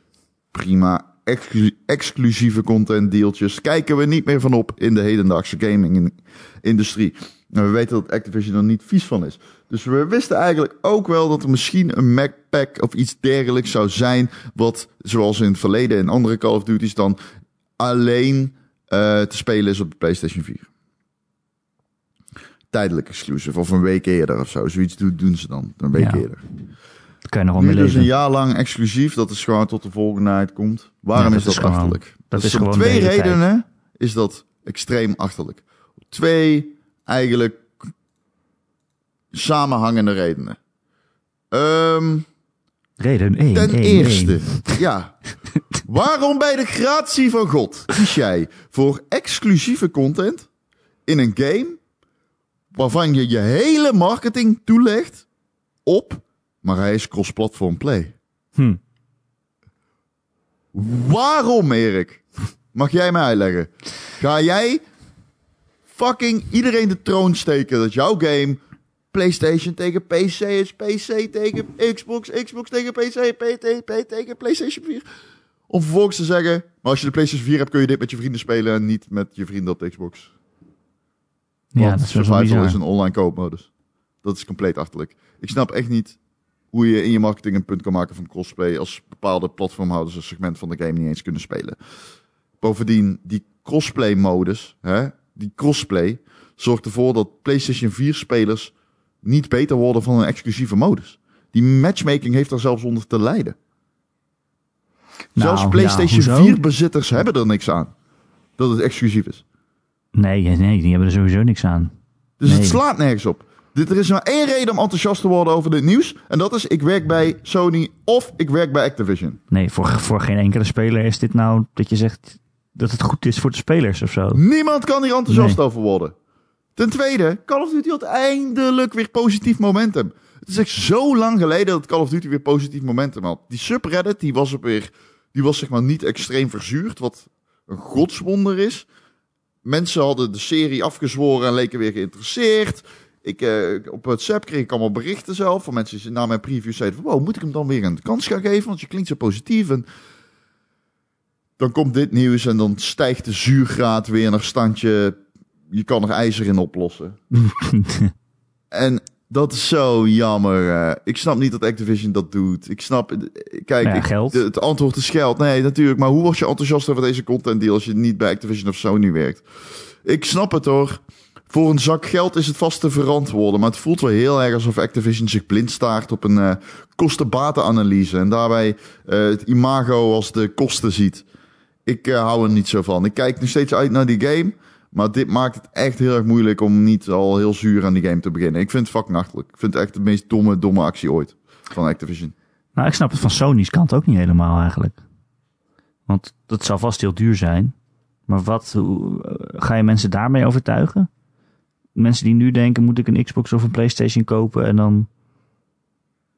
Speaker 2: prima. Exclu- exclusieve content deeltjes kijken we niet meer van op in de hedendaagse gaming-industrie. En we weten dat Activision er niet vies van is. Dus we wisten eigenlijk ook wel dat er misschien een Macpack of iets dergelijks zou zijn. Wat, zoals in het verleden in andere Call of Duty's, dan alleen eh, te spelen is op de PlayStation 4. Tijdelijk exclusive of een week eerder of zo. Zoiets doen doen ze dan, een week
Speaker 1: Ja.
Speaker 2: eerder.
Speaker 1: Dat kan je nog wel
Speaker 2: Nu
Speaker 1: mee
Speaker 2: dus een
Speaker 1: leven.
Speaker 2: jaar lang exclusief. Dat is gewoon tot de volgende night komt. Waarom
Speaker 1: Ja, dat
Speaker 2: is dat
Speaker 1: is gewoon-
Speaker 2: achterlijk? Dat,
Speaker 1: is
Speaker 2: om
Speaker 1: gewoon
Speaker 2: twee
Speaker 1: de hele tijd.
Speaker 2: redenen is dat extreem achterlijk. Twee eigenlijk samenhangende redenen. Ehm,
Speaker 1: Reden 1.
Speaker 2: ten eerste, ja. Waarom bij de gratie van God kies jij voor exclusieve content in een game waarvan je je hele marketing toelegt op, maar hij is cross-platform play?
Speaker 1: Hm.
Speaker 2: Waarom, Erik? Mag jij mij uitleggen? Ga jij fucking iedereen de troon steken dat jouw game PlayStation tegen PC is PC tegen Xbox, Xbox tegen PC, PT, PT tegen PlayStation 4. Om vervolgens te zeggen, maar als je de PlayStation 4 hebt kun je dit met je vrienden spelen en niet met je vrienden op de Xbox.
Speaker 1: Ja,
Speaker 2: Want
Speaker 1: dat is wel zo
Speaker 2: Survival
Speaker 1: bizar.
Speaker 2: is een online koopmodus. Dat is compleet achterlijk. Ik snap echt niet hoe je in je marketing een punt kan maken van crossplay als bepaalde platformhouders een segment van de game niet eens kunnen spelen. Bovendien, die crossplay modus, hè, die crossplay, zorgt ervoor dat PlayStation 4 spelers niet beter worden van een exclusieve modus. Die matchmaking heeft daar zelfs onder te lijden.
Speaker 1: Nou, ja,
Speaker 2: zelfs PlayStation
Speaker 1: hoezo?
Speaker 2: 4 bezitters hebben er niks aan dat het exclusief is.
Speaker 1: Nee, nee, die hebben er sowieso niks aan.
Speaker 2: Dus
Speaker 1: Nee.
Speaker 2: het slaat nergens op. Dit, er is maar één reden om enthousiast te worden over dit nieuws. En dat is, ik werk bij Sony of ik werk bij Activision.
Speaker 1: Nee, voor, voor geen enkele speler is dit nou dat je zegt dat het goed is voor de spelers of zo.
Speaker 2: Niemand kan hier enthousiast
Speaker 1: Nee.
Speaker 2: over worden. Ten tweede, Call of Duty had eindelijk weer positief momentum. Het is echt zo lang geleden dat Call of Duty weer positief momentum had. Die subreddit, die was, er weer, die was zeg maar niet extreem verzuurd, wat een godswonder is. Mensen hadden de serie afgezworen en leken weer geïnteresseerd. Ik, eh, op WhatsApp kreeg ik allemaal berichten zelf van mensen die na mijn preview zeiden van... Wow, moet ik hem dan weer een kans gaan geven? Want je klinkt zo positief. En dan komt dit nieuws en dan stijgt de zuurgraad weer naar standje... Je kan er ijzer in oplossen. En dat is zo jammer. eh. ik snap niet dat Activision dat doet. Ik snap... eh, Kijk,
Speaker 1: Ja,
Speaker 2: ik-
Speaker 1: geld.
Speaker 2: de- het antwoord is geld. Nee, natuurlijk. Maar hoe word je enthousiast over deze content deal als je niet bij Activision of Sony werkt? Ik snap het hoor. Voor een zak geld is het vast te verantwoorden. Maar het voelt wel heel erg alsof Activision zich blind staart op een eh kosten-batenanalyse. En daarbij eh, het imago als de kosten ziet. Ik eh, hou er niet zo van. Ik kijk nog steeds uit naar die game. Maar dit maakt het echt heel erg moeilijk om niet al heel zuur aan die game te beginnen. Ik vind het fucking achterlijk. Ik vind het echt de meest domme, domme actie ooit van Activision.
Speaker 1: <laughs> Nou, ik snap het van Sony's kant ook niet helemaal eigenlijk. Want dat zou vast heel duur zijn. Maar wat, hoe, eh, ga je mensen daarmee overtuigen? Mensen die nu denken, moet ik een Xbox of een Playstation kopen en dan...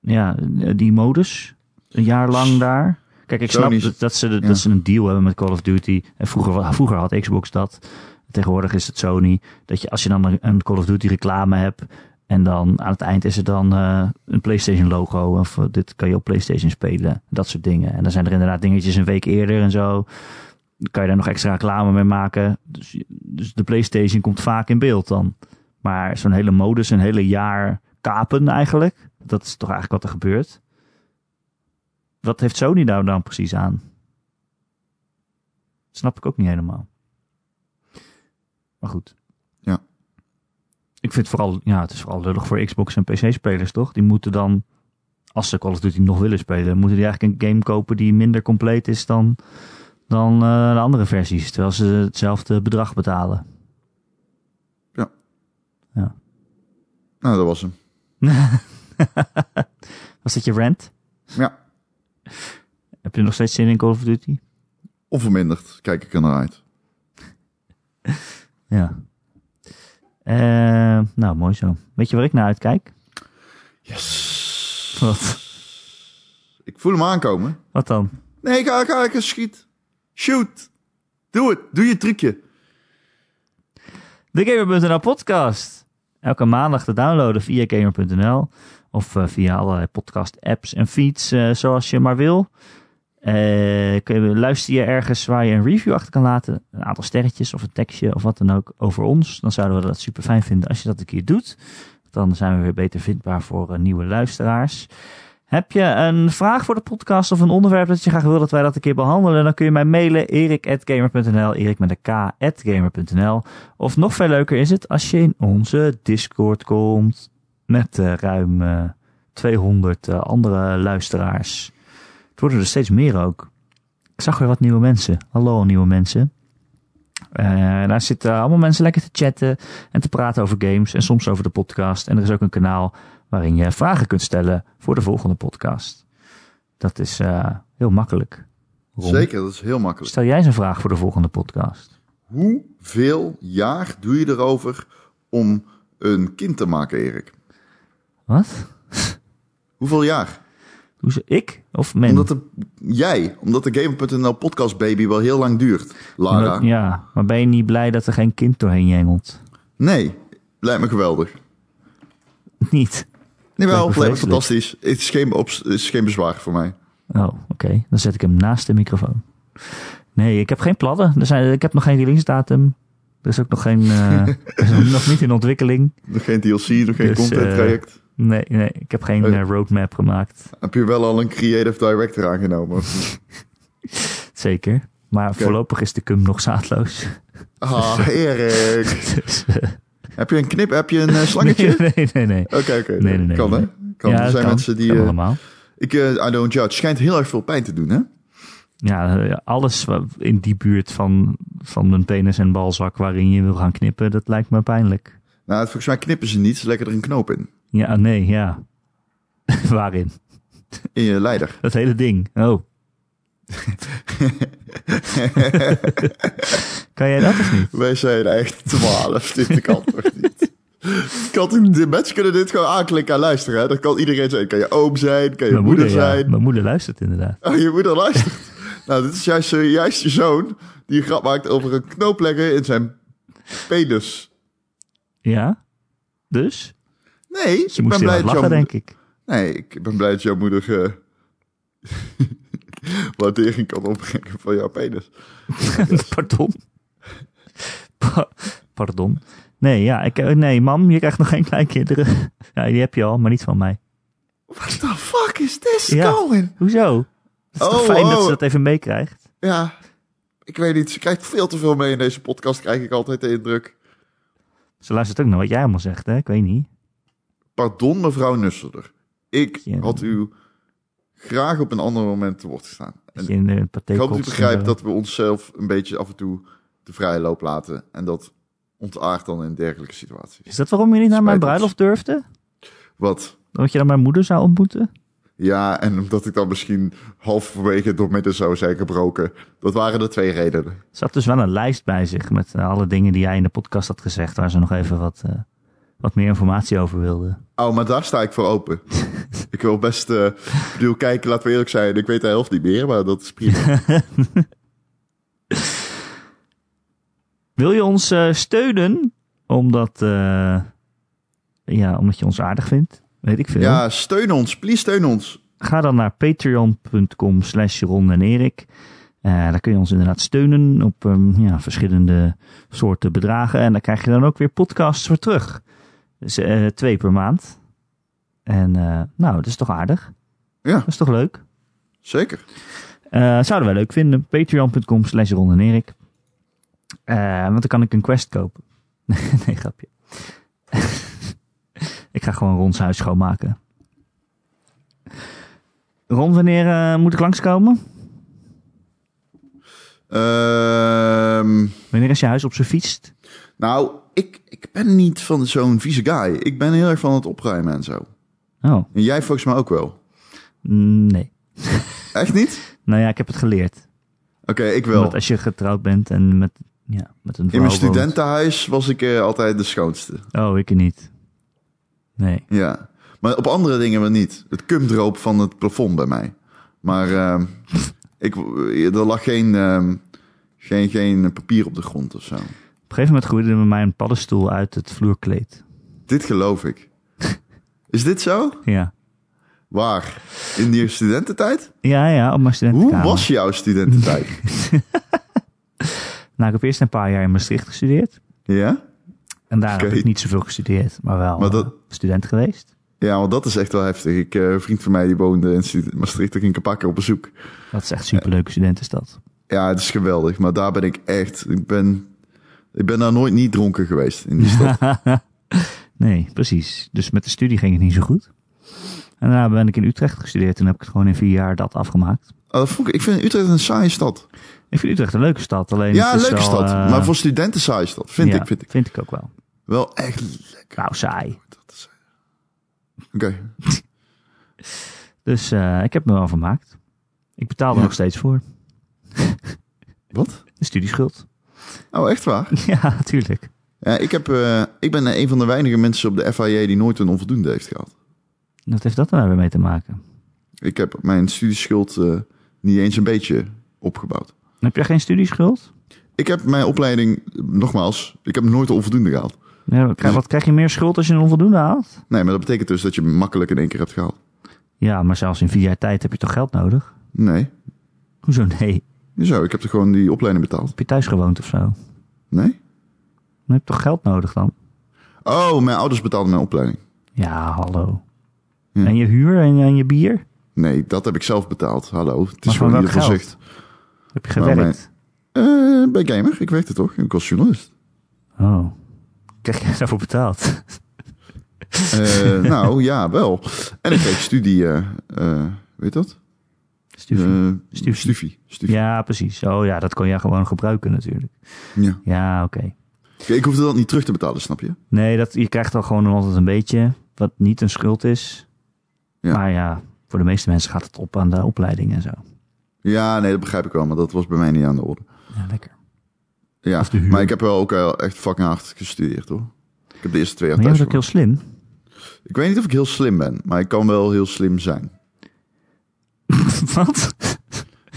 Speaker 1: Ja, eh, die modus. Een jaar lang daar. Kijk, ik snap
Speaker 2: Sony's-
Speaker 1: dat, dat ze, de-
Speaker 2: ja.
Speaker 1: dat ze een deal hebben met Call of Duty. En vroeger, wa- vroeger had Xbox dat. Tegenwoordig is het Sony. Dat je als je dan een- een Call of Duty reclame hebt, en dan aan het eind is er dan eh, een PlayStation logo. Of eh, dit kan je op PlayStation spelen. Dat soort dingen. En dan zijn er inderdaad dingetjes een week eerder en zo. Dan kan je daar nog extra reclame mee maken. Dus, je- dus de PlayStation komt vaak in beeld dan. Maar zo'n hele modus, een hele jaar kapen eigenlijk. Dat is toch eigenlijk wat er gebeurt. Wat heeft Sony daar dan precies aan? Snap ik ook niet helemaal. Maar goed.
Speaker 2: Ja.
Speaker 1: Ik vind het vooral, ja, het is vooral lullig voor Xbox en PC-spelers, toch? Die moeten dan, als ze Call of Duty nog willen spelen, moeten die eigenlijk een game kopen die minder compleet is dan, dan eh, de andere versies. Terwijl ze hetzelfde bedrag betalen.
Speaker 2: Nou, dat was hem.
Speaker 1: Was dat je rant?
Speaker 2: Ja.
Speaker 1: <laughs> Heb je nog steeds zin in Call of Duty?
Speaker 2: Onverminderd kijk ik er naar uit.
Speaker 1: Ja. Eh, nou, mooi zo. Weet je waar ik naar uitkijk?
Speaker 2: Yes.
Speaker 1: Wat?
Speaker 2: Ik voel hem aankomen.
Speaker 1: Wat dan?
Speaker 2: Nee, ga, ga, ga, schiet. Shoot. Doe het. Doe je trucje.
Speaker 1: De Gamer.nl podcast. Elke maandag te downloaden via Gamer.nl of eh, via allerlei podcast apps en feeds eh, zoals je maar wil. Eh, kun je, luister je ergens waar je een review achter kan laten, een aantal sterretjes of een tekstje of wat dan ook over ons, dan zouden we dat super fijn vinden als je dat een keer doet. Dan zijn we weer beter vindbaar voor eh, nieuwe luisteraars. Heb je een vraag voor de podcast of een onderwerp dat je graag wil dat wij dat een keer behandelen? Dan kun je mij mailen erik.gamer.nl, erik met een k, at gamer.nl. Of nog veel leuker is het als je in onze Discord komt met eh, ruim eh, 200 eh, andere luisteraars. Het worden er steeds meer ook. Ik zag weer wat nieuwe mensen. Hallo nieuwe mensen. Eh, daar zitten allemaal mensen lekker te chatten en te praten over games en soms over de podcast. En er is ook een kanaal waarin je vragen kunt stellen voor de volgende podcast. Dat is eh, heel makkelijk. Ron,
Speaker 2: Zeker, dat is heel makkelijk.
Speaker 1: Stel jij eens een vraag voor de volgende podcast.
Speaker 2: Hoeveel jaar doe je erover om een kind te maken, Erik?
Speaker 1: Wat?
Speaker 2: Hoeveel jaar?
Speaker 1: Hoezo? Ik of men?
Speaker 2: Omdat de, jij, omdat de Gamer.nl podcast baby wel heel lang duurt, Lara.
Speaker 1: Omdat- ja, maar ben je niet blij dat er geen kind doorheen jengelt?
Speaker 2: Nee, lijkt me geweldig.
Speaker 1: <laughs> niet.
Speaker 2: Nee, wel,
Speaker 1: Lijkt me
Speaker 2: lijkt
Speaker 1: vreselijk.
Speaker 2: me fantastisch. Het is geen, op, het is geen bezwaar voor mij.
Speaker 1: Oh, oké. Dan zet ik hem naast de microfoon. Nee, ik heb geen plannen. Er zijn, ik heb nog geen release datum. Er is ook nog geen.
Speaker 2: <laughs>
Speaker 1: eh, er is nog niet in ontwikkeling.
Speaker 2: Nog geen DLC, nog geen
Speaker 1: Dus,
Speaker 2: content
Speaker 1: eh,
Speaker 2: traject.
Speaker 1: Nee, nee ik heb geen
Speaker 2: Oh.
Speaker 1: eh, roadmap gemaakt.
Speaker 2: Heb je wel al een creative director
Speaker 1: <laughs>
Speaker 2: aangenomen?
Speaker 1: Zeker. Maar voorlopig is de cum nog zaadloos. <laughs>
Speaker 2: Ah, Erik.
Speaker 1: Dus, eh,
Speaker 2: Heb je een knip? Heb je een eh, slangetje?
Speaker 1: nee, <laughs> nee, nee. nee.
Speaker 2: Oké, oké.
Speaker 1: Nee, nee, nee,
Speaker 2: kan, hè?
Speaker 1: nee.
Speaker 2: Kan.
Speaker 1: Ja,
Speaker 2: er
Speaker 1: dat
Speaker 2: zijn
Speaker 1: kan.
Speaker 2: mensen die...
Speaker 1: Kan
Speaker 2: eh,
Speaker 1: allemaal.
Speaker 2: ik, eh, I don't judge. Schijnt heel erg veel pijn te doen, hè?
Speaker 1: Ja, eh, alles wa- in die buurt van, van mijn penis en balzak waarin je wil gaan knippen, dat lijkt me pijnlijk.
Speaker 2: Nou, volgens mij knippen ze niet. Ze leggen er een knoop in.
Speaker 1: Ja, nee, ja. <laughs> waarin?
Speaker 2: In je leider.
Speaker 1: Dat hele ding. Oh.
Speaker 2: <laughs>
Speaker 1: kan jij dat of niet?
Speaker 2: Wij zijn echt 12. <laughs> dit kan toch niet? Kan dit- de mensen kunnen dit gewoon aanklikken en luisteren. Hè? Dat kan iedereen zijn. Kan je oom zijn, kan je
Speaker 1: Mijn
Speaker 2: moeder,
Speaker 1: moeder, ja.
Speaker 2: zijn.
Speaker 1: Mijn moeder luistert inderdaad.
Speaker 2: Oh, je moeder luistert. <laughs> nou, dit is juist, eh, juist je zoon die een grap maakt over een knoop leggen in zijn penis.
Speaker 1: Ja? Dus?
Speaker 2: Nee,
Speaker 1: Ze
Speaker 2: ik ben
Speaker 1: moest heel
Speaker 2: blij
Speaker 1: hard
Speaker 2: dat jouw
Speaker 1: lachen,
Speaker 2: moeder-
Speaker 1: denk ik.
Speaker 2: Nee, ik ben blij dat jouw moeder eh <laughs> waardering kan opbrengen van jouw penis.
Speaker 1: <laughs> Pardon? Pa- Pardon? Nee, ja. Ik, eh, nee, mam, je krijgt nog geen kleinkinderen. <laughs> Ja, die heb je al, maar niet van mij.
Speaker 2: What the fuck is this,
Speaker 1: Ja.
Speaker 2: Colin?
Speaker 1: Hoezo? Het is toch
Speaker 2: Oh,
Speaker 1: fijn dat
Speaker 2: oh.
Speaker 1: ze dat even meekrijgt?
Speaker 2: Ja, ik weet niet. Ze krijgt veel te veel mee in deze podcast, krijg ik altijd de indruk.
Speaker 1: Ze luistert ook naar wat jij allemaal zegt, hè? Ik weet niet.
Speaker 2: Pardon, mevrouw Nusselder. Ik
Speaker 1: Ja.
Speaker 2: had u graag op een ander moment te woord gestaan. En
Speaker 1: Dat je in de
Speaker 2: ik
Speaker 1: partij
Speaker 2: hoop dat u
Speaker 1: kotst en
Speaker 2: begrijpt
Speaker 1: zo.
Speaker 2: dat we onszelf een beetje af en toe de vrije loop laten. En dat ontaart dan in dergelijke situaties.
Speaker 1: Is dat waarom je niet naar mijn
Speaker 2: Spijt ons.
Speaker 1: bruiloft durfde?
Speaker 2: Wat?
Speaker 1: Omdat je dan mijn moeder zou ontmoeten?
Speaker 2: Ja, en omdat ik dan misschien halverwege door midden zou zijn gebroken. Dat waren de twee redenen.
Speaker 1: Ze had dus wel een lijst bij zich met eh, alle dingen die jij in de podcast had gezegd, waar ze nog even wat, eh, wat meer informatie over wilde.
Speaker 2: Oh, maar daar sta ik voor open. ik wil best... eh, ik bedoel, kijk, laten we eerlijk zijn. Ik weet de helft niet meer, maar dat is prima.
Speaker 1: Wil je ons eh, steunen? Omdat, eh, ja, omdat je ons aardig vindt? Weet ik veel.
Speaker 2: ja, steun ons. Please steun ons.
Speaker 1: Ga dan naar patreon.com slash Ron en Erik. Eh, daar kun je ons inderdaad steunen op ehm, ja, verschillende soorten bedragen. En daar krijg je dan ook weer podcasts voor terug. Dus eh, twee per maand. En eh, nou, dat is toch aardig?
Speaker 2: Ja,
Speaker 1: Dat is toch leuk?
Speaker 2: zeker.
Speaker 1: Eh, zouden wij leuk vinden. Patreon.com slash Ron en Erik. Eh, want dan kan ik een quest kopen. <laughs> nee, grapje. <laughs> ik ga gewoon Rons huis schoonmaken. Ron, wanneer eh, moet ik langskomen?
Speaker 2: Ehm...
Speaker 1: Wanneer is je huis op zijn fietst?
Speaker 2: Nou, ik, ik ben niet van zo'n vieze guy. Ik ben heel erg van het opruimen en zo.
Speaker 1: Oh,
Speaker 2: En jij volgens mij ook wel.
Speaker 1: mm, nee.
Speaker 2: Echt niet?
Speaker 1: Nou ja, ik heb het geleerd.
Speaker 2: Oké, ik
Speaker 1: Want
Speaker 2: wel.
Speaker 1: als je getrouwd bent en met, ja, met een
Speaker 2: In
Speaker 1: vrouw
Speaker 2: mijn
Speaker 1: woont-
Speaker 2: studentenhuis was ik eh, altijd de schoonste.
Speaker 1: Oh, ik niet. Nee.
Speaker 2: Ja. Maar op andere dingen wel niet. Het cum droop van het plafond bij mij. Maar ehm, ik, eh, er lag geen, ehm, geen, geen papier op de grond of zo.
Speaker 1: Op een gegeven moment groeide er bij mij een paddenstoel uit het vloerkleed.
Speaker 2: Dit geloof ik. Is dit zo?
Speaker 1: Ja.
Speaker 2: Waar? In je studententijd?
Speaker 1: Ja, ja, op mijn
Speaker 2: Hoe
Speaker 1: studentenkamer.
Speaker 2: was jouw
Speaker 1: <laughs>
Speaker 2: studententijd?
Speaker 1: Nou, ik heb eerst een paar jaar in Maastricht gestudeerd.
Speaker 2: ja?
Speaker 1: En daar heb
Speaker 2: Oké.
Speaker 1: ik niet zoveel gestudeerd, maar wel
Speaker 2: Maar dat-
Speaker 1: eh, student geweest.
Speaker 2: Ja, want dat is echt wel heftig. Ik, eh, een vriend van mij die woonde in Stu- Maastricht, daar ging ik een paar keer op bezoek.
Speaker 1: Dat is echt superleuke studentenstad. <laughs>
Speaker 2: Ja, het is geweldig, maar daar ben ik echt... Ik ben, ik ben daar nooit niet dronken
Speaker 1: <laughs>
Speaker 2: geweest in die stad.
Speaker 1: nee, precies. Dus met de studie ging het niet zo goed. En daarna ben ik in Utrecht gestudeerd en heb ik het gewoon in vier jaar dat afgemaakt.
Speaker 2: Ah, dat vond ik, ik vind Utrecht een saaie stad.
Speaker 1: Ik vind Utrecht een leuke stad, alleen
Speaker 2: Ja,
Speaker 1: het is
Speaker 2: leuke
Speaker 1: wel,
Speaker 2: stad,
Speaker 1: eh,
Speaker 2: maar voor studenten saaie stad, vind
Speaker 1: ja,
Speaker 2: ik. Vind ik.
Speaker 1: Vind ik ook wel.
Speaker 2: Wel echt lekker.
Speaker 1: Nou, saai.
Speaker 2: Oké,
Speaker 1: Dus eh, ik heb me wel vermaakt. Ik betaal er
Speaker 2: Ja.
Speaker 1: nog steeds voor.
Speaker 2: wat?
Speaker 1: <laughs> De studieschuld.
Speaker 2: Oh, echt waar?
Speaker 1: ja, tuurlijk.
Speaker 2: Ja, ik, heb, eh, ik ben een van de weinige mensen op de FIJ die nooit een onvoldoende heeft gehad.
Speaker 1: Wat heeft dat er nou weer mee te maken?
Speaker 2: Ik heb mijn studieschuld eh, niet eens een beetje opgebouwd.
Speaker 1: Heb jij geen studieschuld?
Speaker 2: Ik heb mijn opleiding, nogmaals, ik heb nooit een onvoldoende gehaald.
Speaker 1: Ja, wat
Speaker 2: Dus-
Speaker 1: krijg- wat krijg je meer schuld als je een onvoldoende haalt?
Speaker 2: Nee, maar dat betekent dus dat je hem makkelijk in één keer hebt gehaald.
Speaker 1: Ja, maar zelfs in vier jaar tijd heb je toch geld nodig?
Speaker 2: Nee.
Speaker 1: Hoezo nee?
Speaker 2: Zo, ik heb er gewoon die opleiding betaald.
Speaker 1: Heb je thuis gewoond of zo? Dan
Speaker 2: Nee?
Speaker 1: heb je toch geld nodig dan?
Speaker 2: Oh, mijn ouders betaalden mijn opleiding.
Speaker 1: Ja, hallo.
Speaker 2: Hm.
Speaker 1: En je huur en, en je bier?
Speaker 2: Nee, dat heb ik zelf betaald. Hallo. Het
Speaker 1: Maar
Speaker 2: is
Speaker 1: van
Speaker 2: gewoon
Speaker 1: welk
Speaker 2: ieder voor
Speaker 1: geld?
Speaker 2: zich.
Speaker 1: Heb je
Speaker 2: Nou,
Speaker 1: gewerkt?
Speaker 2: Eh, bij Gamer, ik weet het toch? Ik was journalist.
Speaker 1: Oh. Krijg je <laughs> daarvoor betaald?
Speaker 2: Eh, <laughs> nou ja, wel. En ik kreeg studie, eh eh, weet dat?
Speaker 1: Studie.
Speaker 2: Eh,
Speaker 1: Stufie.
Speaker 2: Stufie. Stufie.
Speaker 1: ja, precies. Oh ja, dat kon je gewoon gebruiken natuurlijk.
Speaker 2: Ja.
Speaker 1: Ja, oké.
Speaker 2: Ik hoefde dat niet terug te betalen, snap je?
Speaker 1: Nee, dat, je krijgt al gewoon altijd een beetje wat niet een schuld is.
Speaker 2: Ja.
Speaker 1: Maar ja, voor de meeste mensen gaat het op aan de opleiding en zo.
Speaker 2: Ja, nee, dat begrijp ik wel, maar dat was bij mij niet aan de orde.
Speaker 1: Ja, lekker.
Speaker 2: Ja,
Speaker 1: de huur.
Speaker 2: maar ik heb wel ook eh, echt fucking hard gestudeerd, hoor. Ik heb de eerste twee jaar
Speaker 1: Maar jij
Speaker 2: thuis
Speaker 1: bent ook heel
Speaker 2: gewoond.
Speaker 1: slim.
Speaker 2: Ik weet niet of ik heel slim ben, maar ik kan wel heel slim zijn.
Speaker 1: <laughs> wat?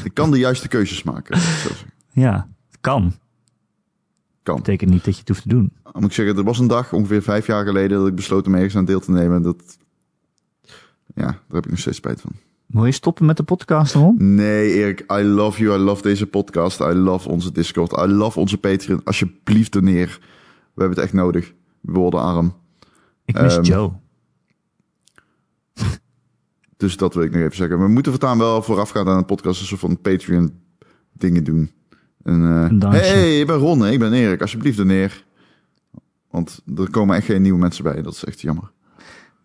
Speaker 2: Ik kan de juiste keuzes
Speaker 1: <laughs>
Speaker 2: maken. laat ik zo zeggen.
Speaker 1: Ja, het kan.
Speaker 2: Kan.
Speaker 1: Betekent niet dat je het hoeft te doen.
Speaker 2: Moet ik zeggen, er was een dag, ongeveer vijf jaar geleden, dat ik besloot om ergens aan deel te nemen. Dat... Ja, daar heb ik nog steeds spijt van.
Speaker 1: Moet je stoppen met de podcast, Ron?
Speaker 2: Nee, Erik, I love you. I love deze podcast. I love onze Discord. I love onze Patreon. Alsjeblieft doneer. We hebben het echt nodig. We worden arm.
Speaker 1: Ik mis
Speaker 2: Ehm,
Speaker 1: Joe.
Speaker 2: Dus dat wil ik nog even zeggen. We moeten voortaan wel voorafgaand aan een podcast een soort van Patreon dingen doen. En, eh,
Speaker 1: Een dansje.
Speaker 2: hey, ik ben Ron. hè. Ik ben Erik. Alsjeblieft doneer. Want er komen echt geen nieuwe mensen bij. Dat is echt jammer.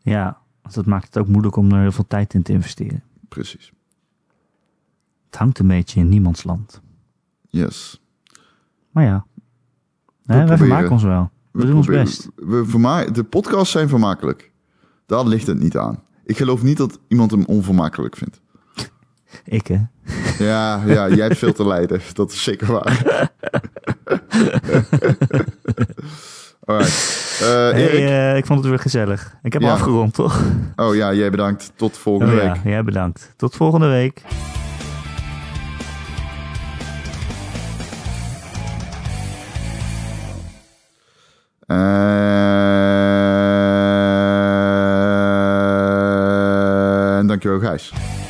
Speaker 1: Ja, want dat maakt het ook moeilijk om er heel veel tijd in te investeren.
Speaker 2: Precies.
Speaker 1: Het hangt een beetje in niemands land.
Speaker 2: Yes.
Speaker 1: Maar ja, hè, wij
Speaker 2: proberen.
Speaker 1: vermaken ons wel. We, doen ons
Speaker 2: proberen-
Speaker 1: best.
Speaker 2: We verma- de podcasts zijn vermakelijk. Daar ligt het niet aan. Ik geloof niet dat iemand hem onvermakelijk
Speaker 1: <laughs>
Speaker 2: vindt.
Speaker 1: Ik, hè?
Speaker 2: Eh, Ja, ja, jij hebt veel te lijden. Dat is
Speaker 1: <laughs>
Speaker 2: zeker waar. <laughs> Alright. Eh,
Speaker 1: Hey,
Speaker 2: Erik.
Speaker 1: eh, ik vond het weer gezellig. Ik heb
Speaker 2: Ja.
Speaker 1: afgerond, toch?
Speaker 2: Oh ja, jij bedankt. Tot volgende
Speaker 1: Oh
Speaker 2: week.
Speaker 1: ja, jij bedankt. Tot volgende week.
Speaker 2: Eh, En dankjewel, Gijs.